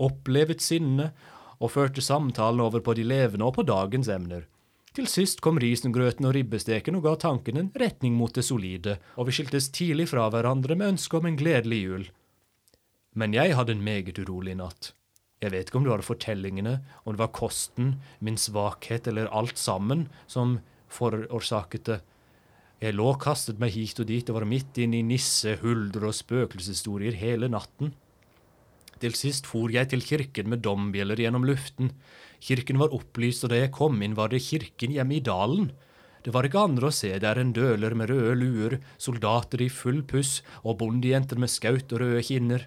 S3: opplevet sinne og førte samtalen over på de levende og på dagens emner. Til sist kom risengrøten og ribbesteken og ga tanken en retning mot det solide, og vi skiltes tidlig fra hverandre med ønske om en gledelig jul. Men jeg hadde en meget urolig natt. Jeg vet ikke om det var fortellingene, om det var kosten, min svakhet eller alt sammen som forårsaket det. Jeg lå og kastet meg hit og dit og var midt inne i nisse, huldre og spøkelseshistorier hele natten. Til sist for jeg til kirken med dombjeller gjennom luften. Kirken var opplyst, og da jeg kom inn, var det kirken hjemme i dalen. Det var ikke andre å se der enn døler med røde luer, soldater i full puss og bondejenter med skaut og røde kinner.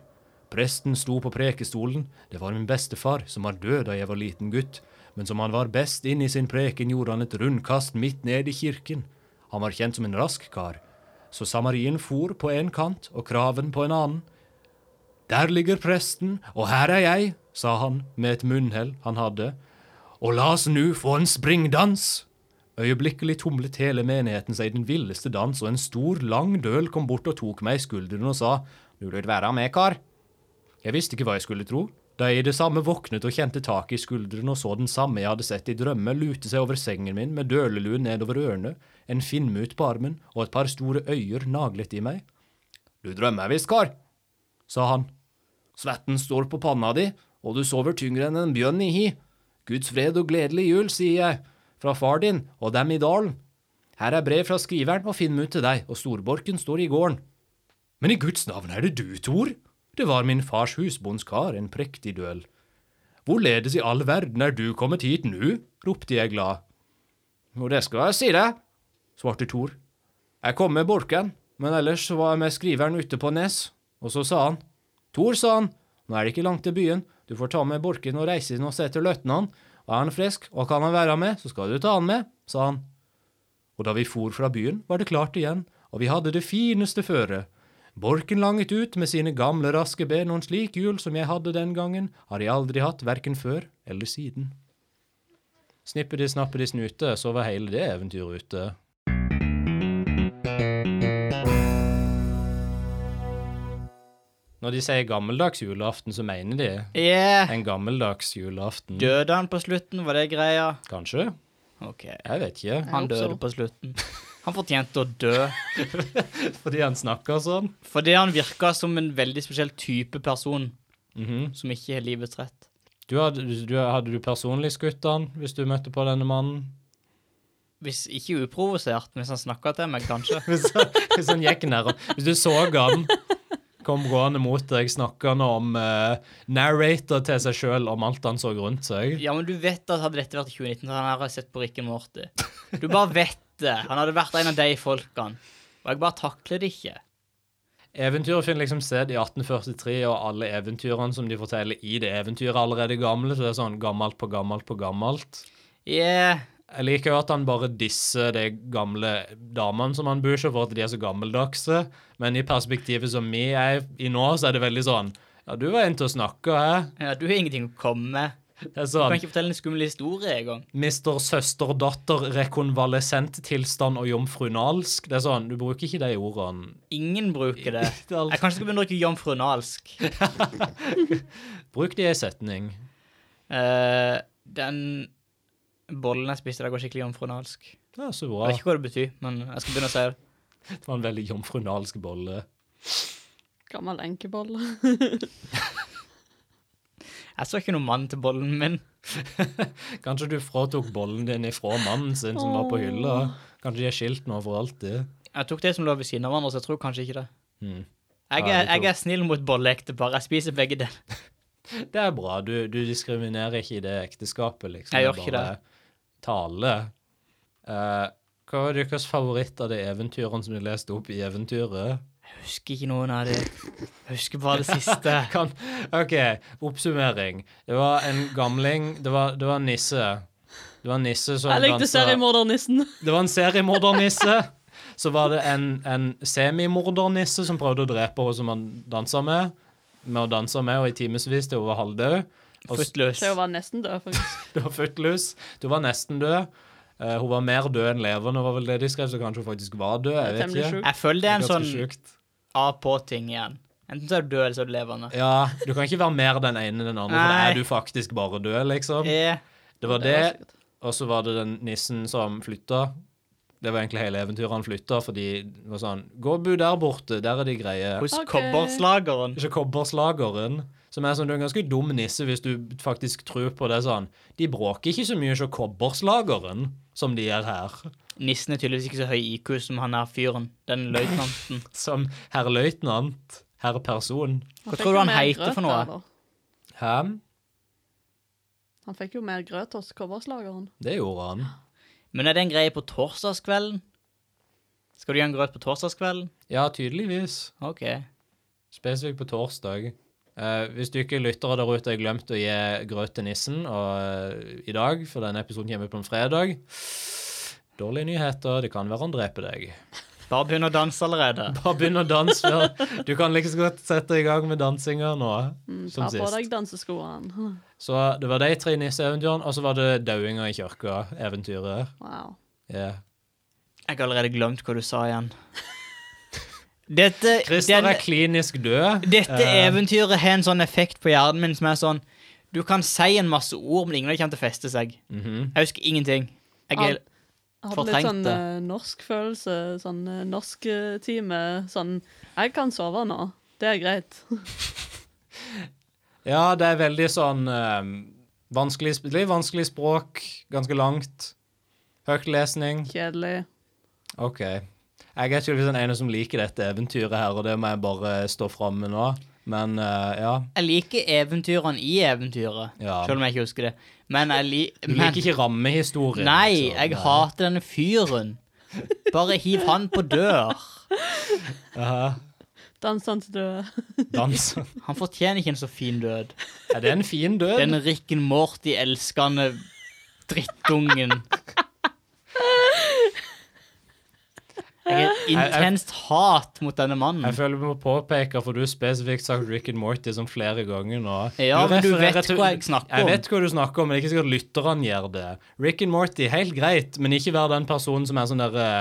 S3: Presten sto på prekestolen. Det var min bestefar, som var død da jeg var liten gutt. Men som han var best inn i sin preken, gjorde han et rundkast midt ned i kirken. Han var kjent som en rask kar. Så samarien for på en kant og kraven på en annen. Der ligger presten, og her er jeg, sa han med et munnhell han hadde. Og la oss nu få en springdans! Øyeblikkelig tumlet hele menigheten seg i den villeste dans, og en stor, lang døl kom bort og tok meg i skulderen og sa Du vil være med, kar. Jeg visste ikke hva jeg skulle tro, da jeg i det samme våknet og kjente taket i skulderen og så den samme jeg hadde sett i drømme lute seg over sengen min med dølelue nedover ørene, en finnmut på armen og et par store øyer naglet i meg. Du drømmer visst, kar, sa han. Svetten står på panna di, og du sover tyngre enn en bjørn i hi. Guds fred og gledelig jul, sier jeg, fra far din og dem i dalen. Her er brev fra skriveren og Finnmut til deg, og storborken står i gården. Men i Guds navn er det du, Tor? Det var min fars husbondskar, en prektig døl. Hvorledes i all verden er du kommet hit nu? ropte jeg glad. Jo, det skal jeg si deg, svarte Tor. Jeg kom med borken, men ellers så var jeg med skriveren ute på Nes, og så sa han, Tor, sa han, nå er det ikke langt til byen, du får ta med borken og reise inn og se til løtnan, og er han frisk og kan han være med, så skal du ta han med, sa han. Og da vi for fra byen, var det klart igjen, og vi hadde det fineste føre. Borken langet ut med sine gamle raske ben, og en slik jul som jeg hadde den gangen, har jeg aldri hatt, verken før eller siden. Snippedi, snappedi, snute, så var hele det eventyret ute. Når de sier gammeldags julaften, så mener de
S1: Yeah.
S3: en gammeldags julaften.
S1: Døde han på slutten, var det greia?
S3: Kanskje?
S1: Ok,
S3: Jeg vet ikke.
S1: han døde på slutten. Han fortjente å dø.
S3: Fordi han snakker sånn.
S1: Fordi han virka som en veldig spesiell type person
S3: Mhm.
S1: som ikke har livets rett.
S3: du hadde, du, hadde du personlig skutt han hvis du møtte på denne mannen?
S1: Hvis ikke uprovosert, mens han snakka til meg, kanskje.
S3: Hvis han, hvis han gikk nær Hvis du så han kom gående mot deg, snakkende om eh, narrator til seg sjøl om alt han så rundt seg.
S1: Ja, men du vet at hadde dette vært i 2019, så hadde han sett på Rick and Morty. Du bare vet det. Han hadde vært en av de folkene. Og jeg bare takler det ikke.
S3: Eventyret finner liksom sted i 1843, og alle eventyrene som de forteller i det eventyret, er allerede gamle, så det er sånn gammelt på gammelt på gammelt.
S1: Yeah.
S3: Jeg liker jo at han bare disser de gamle damene som han bor seg for at de er så gammeldagse, men i perspektivet som vi er i nå, så er det veldig sånn Ja, du var en til å snakke, hæ?
S1: Ja, du har ingenting å komme med.
S3: Det er
S1: Du kan
S3: sånn
S1: ikke fortelle en skummel historie engang.
S3: Mister søster-datter, rekonvalesent tilstand og jomfrunalsk. Det er sånn, du bruker ikke de ordene.
S1: Ingen bruker det.
S3: Det er alt-
S1: Jeg kanskje skal begynne å drikke jomfrunalsk.
S3: Bruk det i en setning.
S1: Eh, den bollen jeg spiste, der går skikkelig jomfrunalsk.
S3: Ja, så
S1: Jeg
S3: bra.
S1: vet ikke hva det betyr, men jeg skal begynne å si det.
S3: Det var en veldig jomfrunalsk bolle.
S5: Gammel enkebolle.
S1: Jeg så ikke noen mann til bollen min.
S3: Kanskje du fratok bollen din ifra mannen sin som var på hylla. Kanskje de er skilt nå for alltid.
S1: Jeg tok det som lå ved siden av hverandre, så jeg tror kanskje ikke det.
S3: Mm.
S1: Jeg er,
S3: Ja, det tror-
S1: jeg er snill mot bolleektepar. Jeg spiser begge deler.
S3: Det er bra. Du, du diskriminerer ikke i det ekteskapet, liksom.
S1: Jeg gjør ikke
S3: Bare Tale. Eh, hva var deres favoritt av de eventyrene som de leste opp i eventyret?
S1: Jeg husker ikke noen av de. Jeg husker bare det siste.
S3: Kan, OK, oppsummering. Det var en gamling Det var, det var en nisse. Det var en nisse som
S5: Jeg likte
S3: danset-
S5: seriemordernissen.
S3: Det var en seriemordernisse. Så var det en, en semimordernisse som prøvde å drepe henne som han dansa med. Med å danse med og i timevis til hun var halvdød. Og s-
S1: Footløs.
S5: Så jeg var nesten død, faktisk.
S3: Du var footloose. Du var nesten død. Eh, hun var mer død enn levende, var vel det de skrev, så kanskje hun faktisk var død. Jeg
S5: Det er
S3: vet
S5: temmelig
S3: ikke.
S5: sjukt.
S1: Jeg føler det er en
S3: Ganske
S1: sånn
S3: sjukt.
S1: av-på-ting igjen. Enten så er du død, eller så er du levende.
S3: Ja, du kan ikke være mer den ene enn den andre, for da
S1: Nei.
S3: er du faktisk bare død, liksom.
S1: Eh,
S3: Det var
S5: Det var
S3: det, og så var det den nissen som flytta. Det var egentlig hele eventyret han flytta, fordi det var sånn Gå og bo der borte, der er de greie.
S1: hos
S5: Ok.
S1: kobberslageren.
S3: Ikke kobberslageren. Som er sånn, du er en ganske dum nisse hvis du faktisk tror på det sånn. De bråker ikke så mye som kobberslageren som de gjør her.
S1: Nissen er tydeligvis ikke så høy IQ som han er fyren. Den løytnanten.
S3: Som herr løytnant, herr person.
S1: Hva
S5: fikk
S1: tror du
S5: jo
S1: han
S5: mer
S1: heter for
S5: grøt
S1: noe?
S5: der, da.
S3: Hæ?
S5: Han fikk jo mer grøt hos coverslageren.
S3: Det gjorde han.
S1: Men er det en greie på torsdagskvelden? Skal du gjøre en grøt på torsdagskvelden?
S3: Ja, tydeligvis.
S1: OK.
S3: Spesifikt på torsdag. Eh, hvis du ikke lyttere der ute har glemt å gi grøt til nissen og, eh, i dag, for denne episoden kommer på en fredag Dårlige nyheter. Det kan være han dreper deg.
S1: Bare begynn å danse allerede.
S3: Bare begynn å danse. før- Du kan like så godt sette i gang med dansinga nå som
S5: Mm, Ta på
S3: sist.
S5: deg danseskoene.
S3: Så det var de tre nisseeventyrene, og så var det dauinga i kirka-eventyret.
S5: Wow.
S3: Yeah.
S1: Jeg har allerede glemt hva du sa igjen. Dette,
S3: Christer
S1: den-
S3: er klinisk død.
S1: dette
S3: Eh,
S1: eventyret har en sånn effekt på hjernen min som er sånn Du kan si en masse ord, men ingen av dem kommer til å feste seg.
S3: mhm.
S1: Jeg husker ingenting. Jeg er,
S5: Al- Jeg hadde litt sånn
S1: Fortrengte.
S5: eh, norsk følelse, sånn eh, norsk eh, time. Sånn Jeg kan sove nå. Det er greit.
S3: Ja, det er veldig sånn eh, vanskelig, sp- litt vanskelig språk, ganske langt. Høytlesning.
S5: Kjedelig.
S3: OK. Jeg er tydeligvis den ene som liker dette eventyret her, og det må jeg bare stå fram med nå. Men eh, ja.
S1: jeg liker eventyrene i eventyret,
S3: Ja.
S1: selv om jeg ikke husker det. Men jeg li,
S3: Du
S1: men-
S3: liker ikke rammehistorien.
S1: Nei,
S3: liksom.
S1: jeg hater denne fyren. Bare hiv han på dør.
S3: Aha.
S5: Dansende døde.
S3: Dans.
S1: Han fortjener ikke en så fin død.
S3: Er det en fin død?
S1: Den Rikken Morty-elskende drittungen. Jeg har et intenst hat mot denne mannen.
S3: Jeg føler vi må påpeke, for du har spesifikt sagt Rick and Morty som flere ganger nå.
S1: Ja, men du
S3: refererer
S1: vet hva jeg snakker om.
S3: Jeg vet hva du snakker om, men det er ikke sikkert lytterne gjør det. Rick and Morty, helt greit, men ikke vær den personen som er sånn der eh,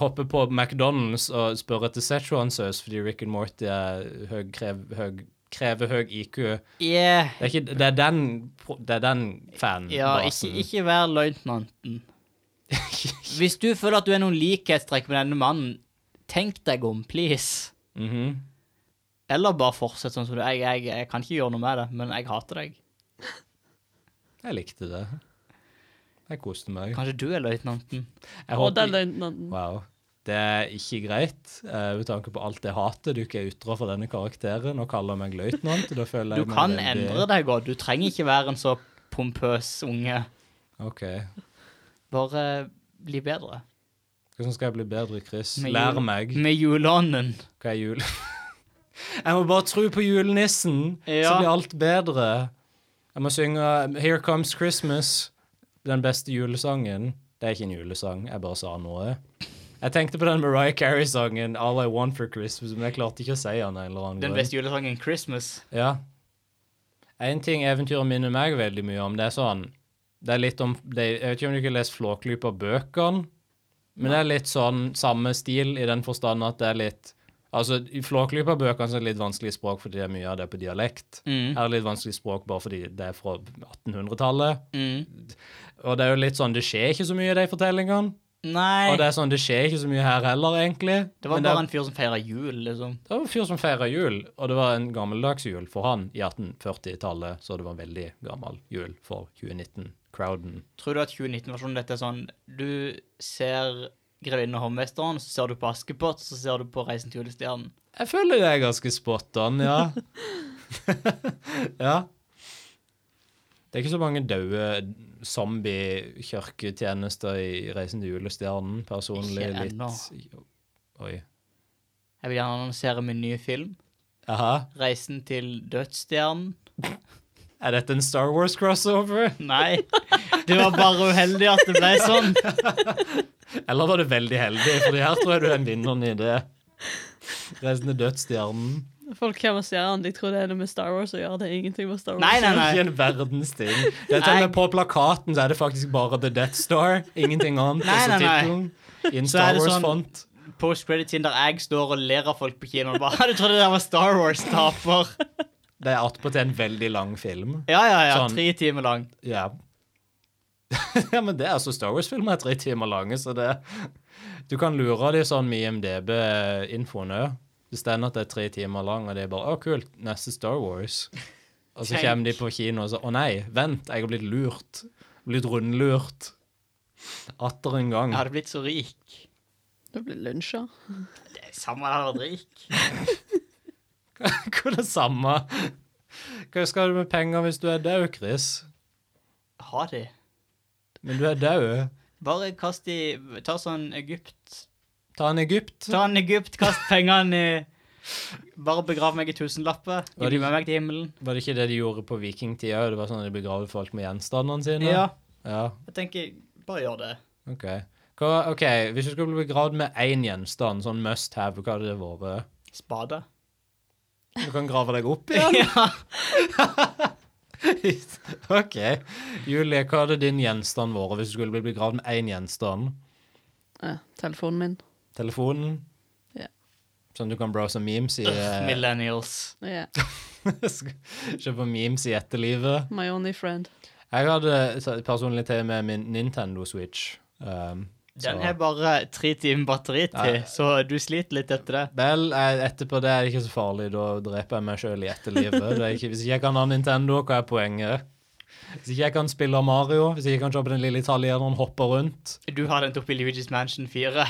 S3: Hopper på McDonald's og spør etter Szechuan-saus fordi Rick and Morty er høy, krev, høy, krever høy IQ.
S1: Yeah.
S3: Det er, ikke, det er den, pro- det er den fanbasen.
S1: Ja, ikke, ikke vær løytnanten. Hvis du føler at du er noen likhetstrekk med denne mannen, tenk deg om, please.
S3: Mhm.
S1: Eller bare fortsett sånn som du jeg, jeg, jeg kan ikke gjøre noe med det, men jeg hater deg.
S3: Jeg likte det. Jeg koste meg.
S1: Kanskje du er løytnanten?
S3: Jeg
S5: Og
S3: håper-
S5: den løytnanten.
S3: Wow. Det er ikke greit, eh, med tanke på alt det hatet du ikke er ytra for denne karakteren, og kaller meg løytnant. Da føler
S1: Du
S3: jeg meg
S1: kan
S3: veldig-
S1: endre deg godt. Du trenger ikke være en så pompøs unge.
S3: Ok.
S1: Bare bli bedre.
S3: Hvordan skal jeg bli bedre, Chris?
S1: Med
S3: Lær
S1: jul-
S3: meg
S1: Med juleånden.
S3: hva er jul. jeg må bare tro på julenissen, så
S1: Ja.
S3: blir alt bedre. Jeg må synge eh, Here Comes Christmas, den beste julesangen. Det er ikke en julesang, jeg bare sa noe. Jeg tenkte på den Mariah Carey-sangen All I Want for Christmas, men jeg klarte ikke å si den. av en eller annen
S1: Den
S3: grunn.
S1: beste julesangen, Christmas.
S3: Ja. En ting eventyret minner meg veldig mye om, det er sånn Det er litt om det, Jeg vet ikke om du ikke har lest Flåklypa-bøkene, men det er litt sånn samme stil i den forstand at det er litt Altså, i Flåklypa-bøkene så er det litt vanskelig språk fordi det er mye av det er på dialekt.
S1: Mm.
S3: Her er det litt vanskelig språk bare fordi det er fra 1800-tallet.
S1: Mm.
S3: Og det er jo litt sånn Det skjer ikke så mye i de fortellingene.
S1: Nei,
S3: Og det
S1: det,
S3: er sånn, det skjer ikke så mye her heller, egentlig.
S1: var
S3: Men
S1: bare en fyr som feira jul, liksom.
S3: det var en fyr som feira jul, og det var en gammeldags jul for han i 1840-tallet, så det var en veldig gammel jul for 2019. Crowden.
S1: Tror du at 2019-versjonen dette er sånn Du ser Grevinnen og hovmesteren, så ser du på Askepott, så ser du på Reisen til julestjernen.
S3: Jeg føler det er ganske spot on, ja. ja. Det er ikke så mange døde zombie-kirketjenester i Reisen til julestjernen, personlig.
S1: Ikke
S3: litt Oi.
S1: Jeg vil gjerne annonsere min nye film.
S3: Aha.
S1: Reisen til dødsstjernen.
S3: Er dette en Star Wars-crossover?
S1: Nei, det var bare uheldig at det ble sånn.
S3: Eller var du veldig heldig? For her tror jeg du er vinneren i det. Reisen til dødsstjernen.
S5: Folk kommer og ser han, de tror det er det med Star Wars å gjøre. Det er ingenting med Star Wars.
S1: Nei, nei,
S3: Det er
S1: nei.
S3: Ikke en verdens ting. Det er til og med på plakaten så er det faktisk bare The Death Star. Ingenting annet.
S1: Nei, nei, nei.
S3: nei. In
S1: er
S3: Star
S1: det sånn-
S3: Wars-font.
S1: Post-credit-scene der jeg står og ler av folk på kino og bare Du trodde det der var Star Wars-taper?
S3: Det er attpåtil en veldig lang film.
S1: Ja, ja, ja.
S3: Sånn.
S1: Tre timer lang.
S3: Ja. ja, men det er altså Star Wars-filmer er tre timer lange, så det Du kan lure de sånn med eh, IMDb-infoen òg. Det stender at det er tre timer lang, og det er bare 'Å, kult, neste Star Wars'. Og så
S1: Tenk.
S3: kommer de på kino og så 'Å nei, vent, jeg har blitt lurt'. Blitt rundlurt. Atter en gang.
S1: Jeg hadde blitt så rik.
S5: Det blir lunsja.
S1: Det er Samme det hadde vært rik.
S3: Hva er det samme? Hva skal du med penger hvis du er død, Chris?
S1: Ha de.
S3: Men du er død.
S1: Bare kast de Ta sånn Egypt
S3: Ta en Egypt.
S1: Ta en Egypt, kast pengene i Bare begrav meg i tusenlapper.
S3: Var
S1: Gi
S3: det-
S1: med meg til himmelen.
S3: Var det ikke det de gjorde på vikingtida? Det var sånn at de begraver folk med gjenstandene sine?
S1: Ja,
S3: ja
S1: jeg tenker, bare gjør det.
S3: ok. Hva, ok, Hvis du skulle bli begravd med én gjenstand, sånn must have, hva hadde det vært?
S1: Spade.
S3: Du kan grave deg opp i den? OK. Julie, hva hadde din gjenstand vært hvis du skulle bli begravd med én gjenstand?
S5: Ja, telefonen min.
S3: Telefonen?
S5: Ja.
S3: Sånn du kan browse memes i eh,
S1: Millennials.
S5: Ja,
S3: Se på memes i etterlivet.
S5: My only friend.
S3: Jeg hadde så- personlig til med min Nintendo Switch. Um,
S1: Den
S3: så-
S1: har bare tre timer batteri til,
S3: Ja.
S1: så du sliter litt etter det.
S3: Vel, eh, etterpå det er det ikke så farlig. Da dreper jeg meg sjøl i etterlivet. Det er ikke, hvis ikke jeg kan ha Nintendo, hva er poenget? Hvis ikke jeg kan spille Mario, hvis ikke jeg kan se på den lille italieneren hoppe rundt
S1: Du har endt opp i Luigi's Mansion 4.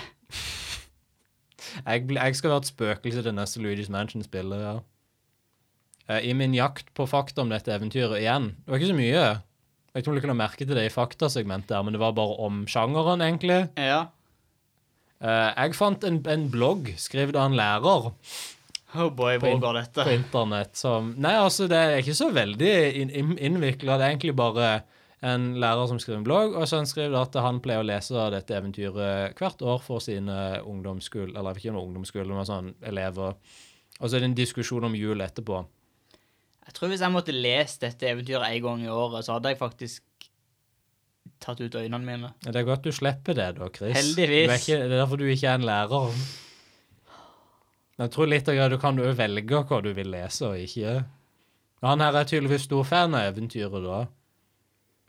S3: Jeg, blir- jeg skal være et spøkelse til neste Luigi's Mansion-spillet. Ja. Eh, I min jakt på fakta om dette eventyret igjen Det var ikke så mye. Jeg vet ikke om du kunne merke til det i faktasegmentet, her, men det var bare om sjangeren, egentlig.
S1: Ja.
S3: Eh, jeg fant en, en blogg skrevet av en lærer.
S1: Oh boy, hvor
S3: På-
S1: går dette?
S3: på internett som Nei, altså, det er ikke så veldig inn, inn, innvikla. Det er egentlig bare en lærer som skriver en blogg, og så han skriver at han pleier å lese dette eventyret hvert år for sine ungdomsskole... Eller ikke noen ungdomsskole, men sånn elever. Og så er det en diskusjon om jul etterpå.
S1: Jeg tror hvis jeg måtte lese dette eventyret en gang i året, så hadde jeg faktisk tatt ut øynene mine.
S3: Det er godt du slipper det, da, Chris.
S1: Heldigvis.
S3: Du er ikke, det er derfor du ikke er en lærer. Jeg tror litt av greia, Du kan jo velge hva du vil lese og ikke. Han her er tydeligvis stor fan av eventyret, da.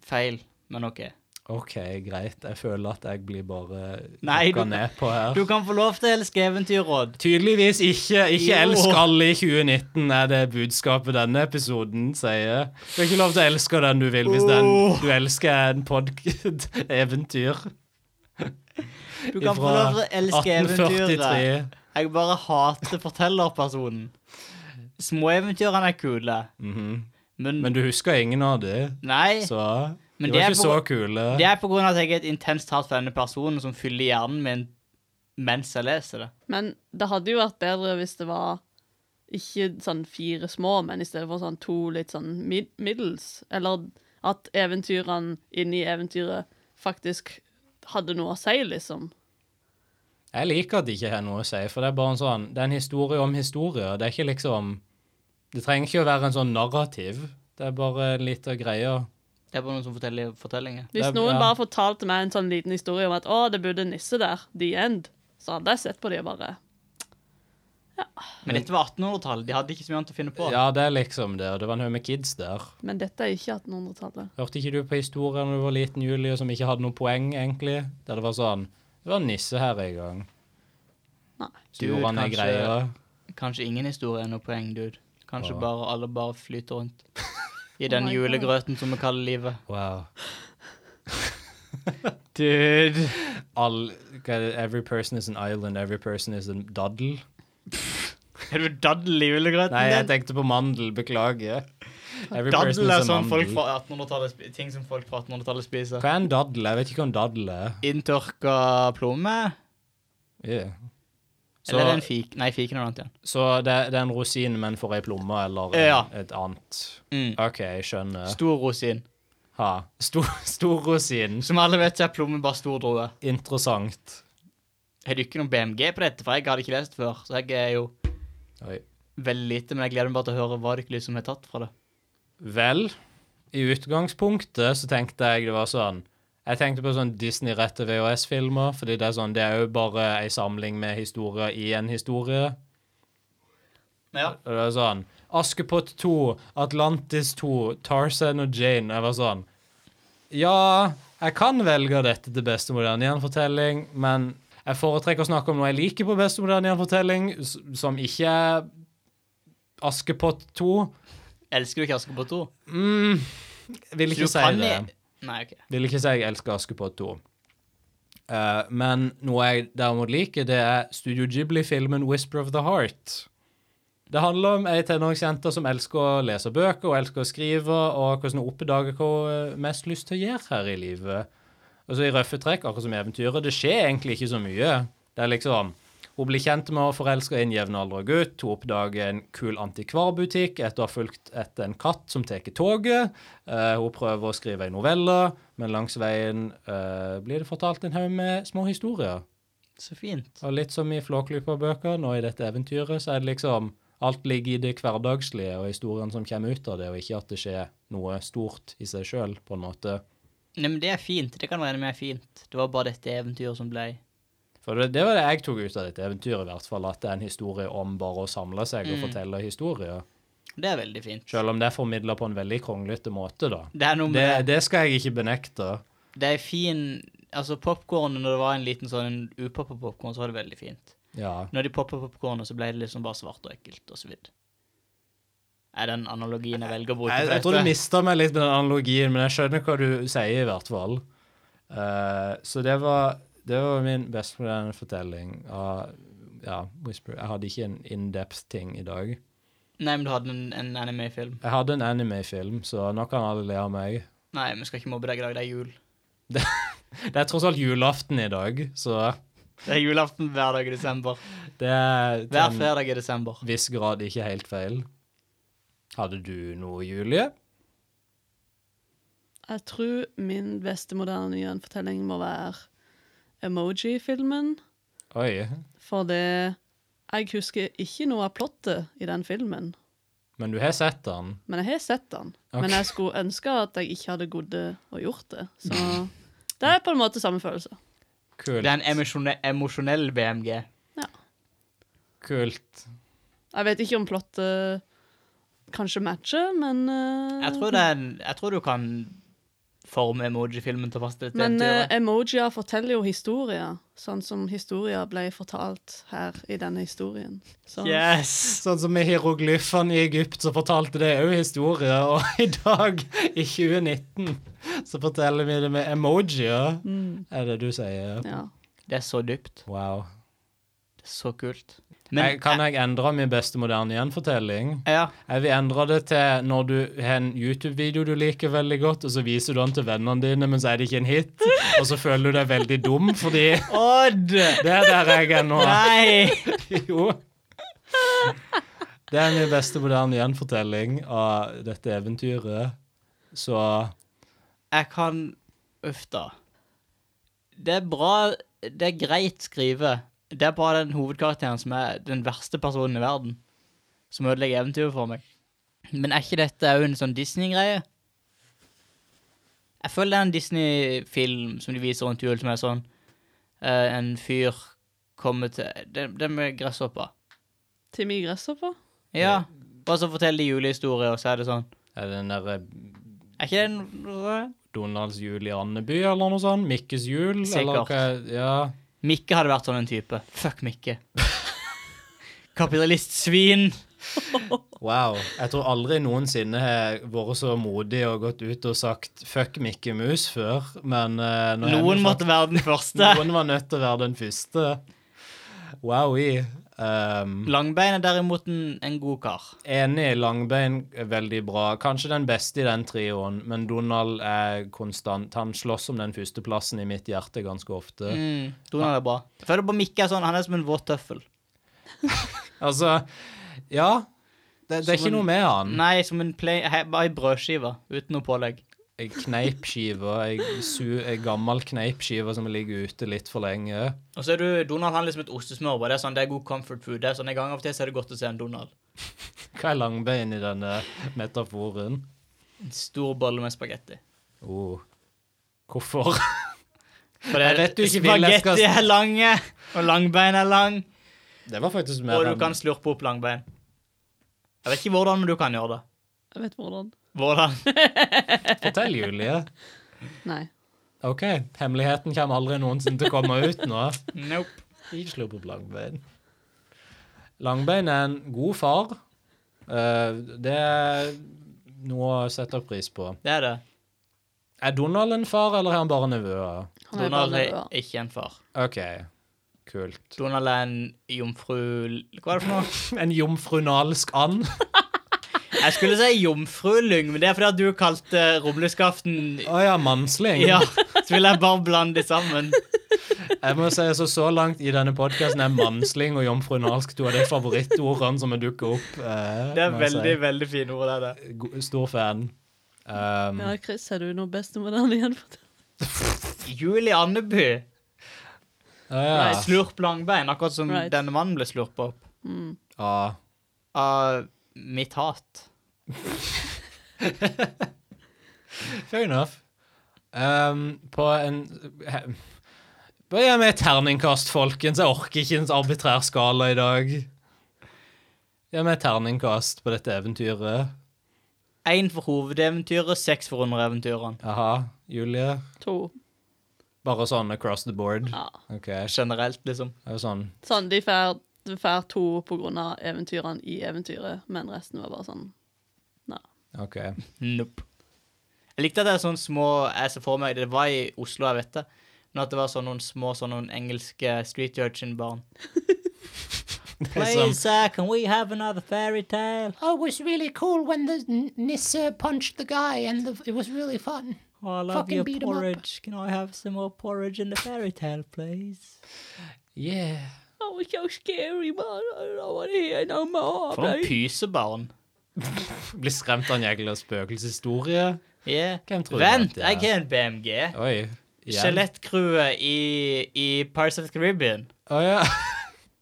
S1: Feil, men ok.
S3: OK, greit. Jeg føler at jeg blir bare
S1: Nei,
S3: hukka
S1: du-
S3: ned på her.
S1: Du kan få lov til å elske eventyrråd.
S3: Tydeligvis ikke. Ikke
S1: Jo.
S3: elsk alle i 2019, er det budskapet denne episoden sier. Du har ikke lov til å elske den du vil, hvis den du elsker er en podkast-eventyr
S1: Du kan få
S3: fra
S1: lov til å elske eventyret.
S3: 1843.
S1: Jeg bare hater fortellerpersonen. Småeventyrene er kule,
S3: Mhm.
S1: men,
S3: Men du husker ingen av de,
S1: Nei,
S3: så
S1: Men
S3: de
S1: det
S3: var
S1: er på-
S3: ikke så kule.
S1: det er på grunn av at jeg er et intenst hat for denne personen som fyller hjernen min mens jeg leser det.
S5: Men det hadde jo vært bedre hvis det var ikke sånn fire små, men i stedet for sånn to litt sånn mid middels. Eller at eventyrene inni eventyret faktisk hadde noe å si, liksom.
S3: Jeg liker at det ikke har noe å si, for det er bare en sånn Det er en historie om historie. og Det er ikke liksom Det trenger ikke å være en sånn narrativ. Det er bare en liten greie.
S1: Det er bare noen som forteller fortellinger.
S5: Hvis
S3: Det er-
S5: noen
S3: ja.
S5: bare fortalte meg en sånn liten historie om at å, det bodde en nisse der, the end, så hadde jeg sett på de og bare
S1: Men dette var 1800-tallet. De hadde ikke så mye annet å finne på.
S3: Ja, det er liksom det. Og det var en haug med kids der.
S5: Men dette er ikke 1800-tallet.
S3: Hørte ikke du på historien da du var liten, Julie, som ikke hadde noe poeng, egentlig? Der det var sånn Det var en nisse her en gang.
S5: Nei.
S3: Så
S1: Dude,
S3: gjorde han ei
S1: kanskje-
S3: greie.
S1: Kanskje ingen historie er noe poeng, dude. Kanskje
S3: Wow.
S1: bare alle bare flyter rundt. I den
S5: Oh my God.
S1: julegrøten som vi kaller livet.
S3: Wow.
S1: Dude.
S3: All, hva er det? every person is an island, every person is a daddel.
S1: Er du daddel i julegrøten
S3: Nei, jeg
S1: din?
S3: tenkte på mandel. Beklager. Every person
S1: Daddel
S3: is
S1: er
S3: a
S1: sånn folk
S3: mandel.
S1: fra 1800-tallet spi- ting som folk fra 1800-tallet spiser.
S3: Hva er en daddel? Jeg vet ikke hva en daddel er.
S1: Inntørka plomme?
S3: Yeah. Så,
S1: Eller er det en fik? Nei, fiken er noe annet igjen.
S3: så det, det er en rosin, men for ei plomme eller en,
S1: Ja.
S3: et annet.
S1: Mm.
S3: OK, jeg skjønner.
S1: Stor rosin.
S3: Ha. Stor, stor rosin.
S1: Som alle vet, så er plomme bare stor drue.
S3: Interessant.
S1: Har du ikke noen BMG på dette? For jeg hadde ikke lest før. Så jeg er jo
S3: Oi.
S1: veldig lite, men jeg gleder meg bare til å høre hva det ikke som har tatt fra det.
S3: Vel, i utgangspunktet så tenkte jeg det var sånn Jeg tenkte på sånn Disney-rette VHS-filmer, fordi det er sånn, det er jo bare ei samling med historier i en historie.
S1: Ja.
S3: Og det var sånn Askepott 2, Atlantis 2, Tarzan og Jane. Jeg var sånn Ja, jeg kan velge dette til beste moderne gjenfortelling, men jeg foretrekker å snakke om noe jeg liker på beste moderne gjenfortelling, s- som ikke er Askepott 2.
S1: Elsker du ikke Askepott 2?
S3: Mm, vil
S1: Så du
S3: ikke si
S1: kan
S3: det.
S1: i- Nei, ok.
S3: Vil ikke si jeg elsker Askepott 2. Eh, men noe jeg derimot liker, det er Studio Ghibli-filmen 'Whisper of the Heart'. Det handler om ei tenåringsjente som elsker å lese bøker og elsker å skrive, og hvordan hun oppdager hva hun eh, mest lyst til å gjøre her i Altså, livet. Og så I røffe trekk, akkurat som i eventyret, det skjer egentlig ikke så mye. Det er liksom Hun blir kjent med å forelske i en jevnaldra gutt. Hun oppdager en kul antikvarbutikk etter å ha fulgt etter en katt som tar toget. Eh, hun prøver å skrive en novelle, men langs veien eh, blir det fortalt en haug med små historier.
S1: Så fint.
S3: Og litt som i Flåklypa-bøker, nå i dette eventyret, så er det liksom Alt ligger i det hverdagslige og historien som kommer ut av det, og ikke at det skjer noe stort i seg sjøl, på en måte.
S1: Nei, men det er fint. Det kan være med fint. Det var bare dette eventyret som ble
S3: For det, det var det jeg tok ut av dette eventyret, i hvert fall. At det er en historie om bare å samle seg og fortelle historier.
S1: Det er veldig fint.
S3: Selv om det er formidla på en veldig kronglete måte, da.
S1: Det er noe
S3: Det,
S1: med
S3: det skal jeg ikke benekte.
S1: Det er fin Altså, popcornen, når det var en liten sånn upoppa popcorn, så var det veldig fint.
S3: Ja.
S1: Når de poppa popcornet, så ble det liksom bare svart og ekkelt og så vidt. Er den analogien jeg velger å bruke?
S3: Jeg,
S1: for
S3: jeg tror du
S1: dette?
S3: mista meg litt med den analogien, men jeg skjønner hva du sier, i hvert fall. Eh, så det var, det var min best moderne fortelling av ja, Whisper. Jeg hadde ikke en in-depth-ting i dag.
S1: Nei, men du hadde en, en anime-film.
S3: Jeg hadde en anime-film, så nå kan alle le av meg.
S1: Nei, vi skal ikke mobbe deg i dag. Det er jul.
S3: Det er tross alt julaften i dag, så
S1: Det er julaften hver dag i desember.
S3: det er til
S1: Hver
S3: en
S1: fredag i desember.
S3: viss grad ikke helt feil. Hadde du noe, Julie?
S5: Jeg tror min beste moderne gjenfortelling må være emoji-filmen.
S3: Oi.
S5: For det Jeg husker ikke noe av plottet i den filmen,
S3: Men du har sett den.
S5: men jeg har sett den.
S3: Ok.
S5: Men jeg skulle ønske at jeg ikke hadde gått og gjort det. Så det er på en måte samme følelse.
S1: Det
S3: Kult.
S1: er en emosjone- emosjonell BMG.
S3: Kult.
S5: Jeg vet ikke om plottet kanskje matcher, men eh,
S1: Jeg tror, det er en, jeg tror du kan forme emoji-filmen til å passe til dette
S5: Men eh,
S1: eventyret.
S5: emojier forteller jo historier, sånn som historier ble fortalt her i denne historien. Så
S1: Yes!
S3: Sånn som med hieroglyfene i Egypt, så fortalte det òg historier. Og i dag, i 2019, så forteller vi det med emojier, er det du sier.
S5: ja.
S1: Det er så dypt.
S3: Wow.
S1: Det er så kult.
S3: jeg, kan jeg endre min beste moderne gjenfortelling?
S1: Ja.
S3: Jeg vil endre det til når du har en YouTube-video du liker veldig godt, og så viser du den til vennene dine, men så er det ikke en hit. Og så føler du deg veldig dum, fordi
S1: Odd!
S3: det er der jeg er nå.
S1: Nei!
S3: Jo. Det er min beste moderne gjenfortelling av dette eventyret. Så
S1: Jeg kan Uff, da. Det er bra Det er greit skrive. Det er bare den hovedkarakteren som er den verste personen i verden, som ødelegger eventyret for meg. Men er ikke dette òg en sånn Disney-greie? Jeg føler det er en Disney-film som de viser rundt jul, som er sånn eh, En fyr kommer til Det, det med gresshoppa.
S5: Timmy Gresshoppe?
S1: Ja. Bare så forteller de julehistorier, og så er det sånn.
S3: er det den derre
S1: Er ikke det en
S3: Donalds jul i Andeby eller noe sånt? Mikkes jul? Eller
S1: Sikkert.
S3: hva? Ja.
S1: Mikke hadde vært sånn en type. Fuck Mikke. Kapitalistsvin.
S3: Wow. Jeg tror aldri noensinne har vært så modig og gått ut og sagt 'fuck Mikke Mus' før, men eh, nå er det
S1: Noen
S3: faktisk-
S1: måtte være den første.
S3: Noen var nødt til å være den første. Wowie. Um,
S1: Langbein er derimot en, en god kar.
S3: Enig. Langbein er veldig bra. Kanskje den beste i den trioen, men Donald er konstant. Han slåss om den førsteplassen i mitt hjerte ganske ofte.
S1: Mm, Donald er bra. Jeg føler på Mikke er sånn, han er som en våt tøffel.
S3: Altså, ja. Det, det er
S1: Som
S3: ikke
S1: en-
S3: noe med han.
S1: Nei, som en play, he, bare ei brødskive uten noe pålegg.
S3: Jeg kneipskive. Jeg su, ei gammel kneipskive som ligger ute litt for lenge.
S1: Og så er du, Donald han er liksom et ostesmørbrød. Det er sånn, det er god comfort food. Det er sånn, En gang av og til så er det godt å se en Donald.
S3: Hva er langbein i denne metaforen?
S1: En stor bolle med spagetti.
S3: Oh. Hvorfor?
S1: For
S3: Jeg vet du ikke vil jeg skal-
S1: spagetti er lange, og langbein er lang,
S3: Det var faktisk mer
S1: og du
S3: enn-
S1: kan slurpe opp langbein. Jeg vet ikke hvordan, men du kan gjøre det.
S5: Jeg vet hvordan.
S1: Hvordan?
S3: Fortell, Julie.
S5: Nei.
S3: OK. Hemmeligheten kommer aldri noensinne til å komme ut nå.
S1: Nope.
S3: Ikke slå på langbein. Langbein er en god far. Eh, det er noe å sette pris på.
S1: Det er det.
S3: Er Donald en far, eller er han bare nevøer?
S5: Han er
S1: Donald
S5: bare
S1: er
S5: nervøs.
S1: ikke en far.
S3: OK, kult.
S1: Donald er en jomfru... Hva er det for noe?
S3: En jomfrunalsk and?
S1: Jeg skulle si jomfrulyng, men det er fordi at du kalte eh, rumleskaften
S3: Å ja, mansling.
S1: Ja, så ville jeg bare blande de sammen.
S3: Jeg må si altså, Så langt i denne podkasten er mansling og jomfru Nalsk to av de favorittordene som dukker opp. eh,
S1: Det er
S3: må jeg
S1: veldig, veldig fine ord. det er det.
S3: si. Go- Stor fan. Um,
S5: Ja, Chris, har du noe best om den igjen?
S1: Julie Andeby.
S3: ja, ja.
S1: Nei, Slurp langbein, akkurat som
S5: Right.
S1: denne mannen ble slurpa opp
S3: Ja.
S1: av mitt hat.
S3: Fair enough. Ehm, på en Bare gi meg et terningkast, folkens. Jeg orker ikke en arbitrær skala i dag. Gi meg et terningkast på dette eventyret.
S1: Én for hovedeventyret, seks for undereventyrene.
S3: Jaha, Julie.
S5: To.
S3: Bare sånn across the board?
S5: Ja.
S3: OK. Det
S1: Generelt, liksom.
S3: er jo sånn
S5: Sånn, de får de får to på grunn av eventyrene i eventyret, men resten var bare sånn
S3: OK.
S1: Nope. Jeg likte at det er sånne små Jeg ser for meg Det var i Oslo, jeg vet det. Men at det var sånn noen små sånn noen engelske street urchin-barn.
S3: Det er som,
S1: sir, can we have another fairytale?
S7: Oh, it was really cool when the n- Nissa punched the guy, and the, it was really fun.
S1: Oh, I
S7: love Fucking your beat 'em up. porridge.
S1: Can I have some more porridge in the fairytale, please?
S3: yeah.
S4: Oh, it's so scary, man. I don't want to hear no more.
S1: For noen pysebarn.
S3: Blir skremt av en jegle og spøkelseshistorie.
S1: Yeah.
S3: Hvem tror du
S1: Vent,
S3: at det er?
S1: jeg har en BMG.
S3: Oi. igjen.
S1: Skjelettcrewet i, i Pirates of the Caribbean.
S3: Å ja.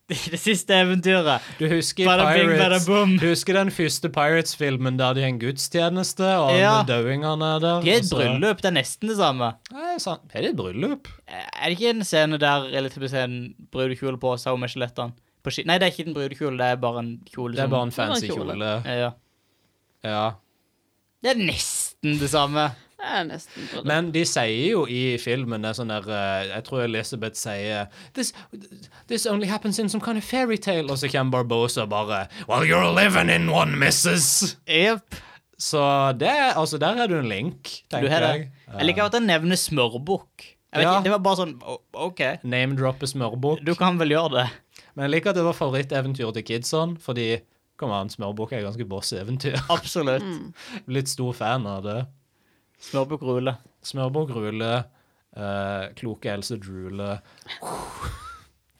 S1: Det, det siste eventyret.
S3: Du husker, i
S1: Bada bing, bada
S3: Pirates,
S1: boom.
S3: du husker den første Pirates-filmen der de har en gudstjeneste, og ja.
S1: Ja.
S3: dauingene er der? Altså,
S1: De er et
S3: og så-
S1: bryllup, det er nesten det samme.
S3: Nei, sant. Er det et bryllup?
S1: Er det ikke en scene der eller typisk en brudekjole på seg og med skjelettene? På ski Nei, det er ikke en brudekjole, det er bare en kjole.
S3: Det er
S1: som-
S3: bare en
S5: var en
S3: fancy
S5: kjole.
S3: kjole.
S1: ja.
S3: Ja.
S1: Det er nesten det samme.
S5: Det er nesten bryllup.
S3: Men de sier jo i filmen det er sånn der eh, Jeg tror Elizabeth sier This, this only happens in some kind of fairytale. Og så kommer Barbosa bare Well, you're living in one, missus.
S1: Yep.
S3: Så det, altså, der er du en link,
S1: Du
S3: tenker
S1: har
S3: jeg.
S1: det. Jeg liker at han nevner smørbukk. Jeg vet
S3: Ja.
S1: ikke, Det var bare sånn o- OK,
S3: Name-droppe smørbukk.
S1: du kan vel gjøre det.
S3: Men jeg liker at det var favoritteventyret til Kidson, fordi kom an, smørbukk er ganske boss eventyr.
S1: Absolutt.
S3: Litt stor fan av det.
S1: Smørbukk rule.
S3: Smørbukk Rule, eh, kloke Else Drule.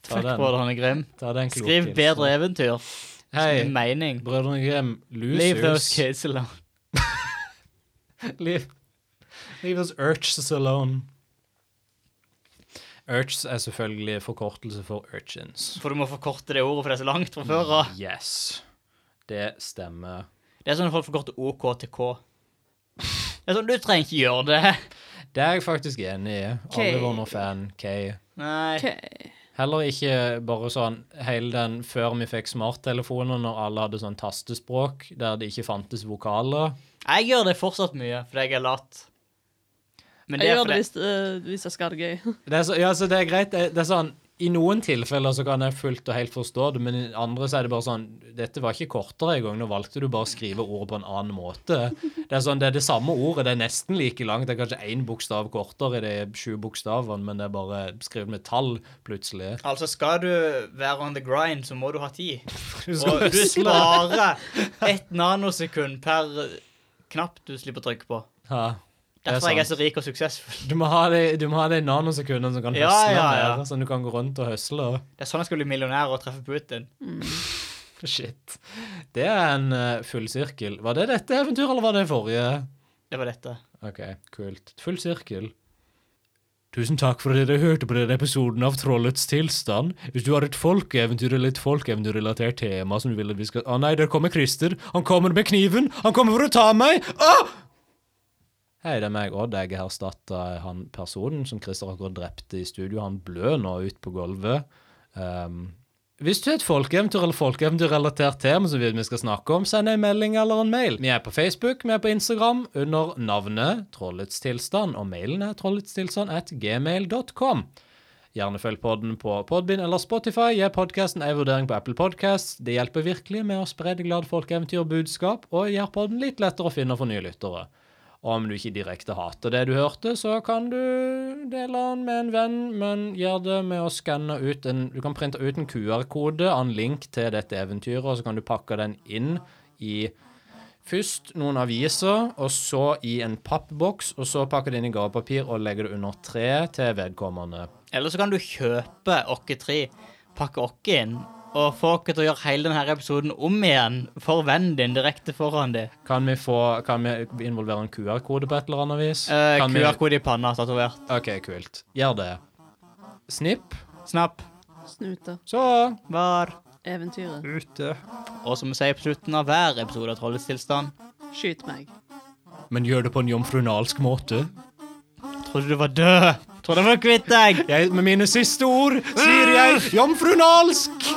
S3: Ta
S1: Fuck på
S3: den,
S1: det, han er grim.
S3: ta den kloke
S1: Skriv
S3: Else.
S1: bedre eventyr. Med
S3: Hei,
S1: mening.
S3: Brødrene Grim,
S1: Leave those
S3: losers.
S1: kids alone.
S3: Leave, leave those urchs alone. Urchs er selvfølgelig forkortelse for urchins.
S1: For du må forkorte det ordet, for det er så langt fra før
S3: Mm.
S1: av.
S3: Yes, det stemmer.
S1: Det er sånn at folk forkorter OK til K. Det er sånn, Du trenger ikke gjøre det.
S3: Det er jeg faktisk enig i. Alle var noen fan, Kay.
S1: Nei.
S5: Ok.
S3: Heller ikke bare sånn hele den før vi fikk smarttelefoner, når alle hadde sånn tastespråk der det ikke fantes vokaler.
S1: Jeg gjør det fortsatt mye, fordi jeg er lat. Men det
S5: Jeg
S1: er
S5: gjør det
S1: fordi
S5: hvis, eh, hvis jeg skal ha det gøy.
S3: Det er, så, ja, så det er greit. Det, det er sånn I noen tilfeller så kan jeg fullt og helt forstå det, men i andre så er det bare sånn Dette var ikke kortere engang. Nå valgte du bare å skrive ordet på en annen måte. Det er sånn, det er det samme ordet. Det er nesten like langt. Det er kanskje én bokstav kortere i de sju bokstavene, men det er bare skrevet med tall, plutselig.
S1: Altså, skal du være on the grind, så må du ha tid. Og
S3: skal
S1: du sparer ett nanosekund per knapp du slipper trykk på.
S3: Ja, det
S1: Derfor er jeg
S3: sant.
S1: så rik og suksessfull.
S3: Du må ha de, du må ha de nanosekundene som kan
S1: Ja,
S3: høsle
S1: ja, ja.
S3: mer, sånn du kan gå rundt og høsle.
S1: Det er sånn jeg skal bli millionær og treffe Putin.
S3: Shit. Det er en eh, full sirkel. Var det dette eventyret, eller var det forrige?
S1: Det var dette.
S3: Ok, kult. Full sirkel. Tusen takk for at dere hørte på denne episoden av Trollets tilstand. Hvis du har et folkeeventyr eller et folkeeventyrrelatert tema som du vil at vi skal Å nei, der kommer Christer. Han kommer med kniven! Han kommer for å ta meg! Ah! Hei, det er meg, Odd. Jeg har erstatta han personen som Christer akkurat drepte i studio. Han blør nå ut på gulvet. Ehm, hvis du har et folkeeventyr eller folkeeventyrrelatert tema som vi vi skal snakke om, send en melding eller en mail. Vi er på Facebook, vi er på Instagram under navnet Trollets tilstand, og mailen er trolletstilstand at gmail.com. Gjerne følg podden på Podbind eller Spotify. Gi podkasten en vurdering på Apple Podkast. Det hjelper virkelig med å spre det glade folkeeventyrbudskap, og gjør podden litt lettere å finne for nye lyttere. Og om du ikke direkte hater det du hørte, så kan du dele den med en venn, men gjør det med å skanne ut en Du kan printe ut en QR-kode, en link til dette eventyret, og så kan du pakke den inn i først noen aviser, og så i en pappboks, og så pakke det inn i gavepapir og legge det under treet til vedkommende.
S1: Eller så kan du kjøpe okke tre, pakke okke inn, og få okke til å gjøre hele denne episoden om igjen for vennen din direkte foran deg.
S3: Kan vi, få, kan vi involvere en QR-kode på et eller annet vis?
S1: Eh,
S3: Kan vi-
S1: QR-kode i panna tatovert.
S3: OK, kult. Gjør det. Snipp.
S1: Snapp.
S5: Snuter.
S3: Så
S1: Var.
S5: Eventyret.
S3: ute.
S1: Og som vi sier på slutten av hver episode av Trollets tilstand
S5: Skyt meg.
S3: Men gjør det på en jomfrunalsk måte.
S1: Trodde du var død! Trodde jeg var kvitt deg!
S3: Ah! Jeg, med mine siste ord sier jeg jomfrunalsk!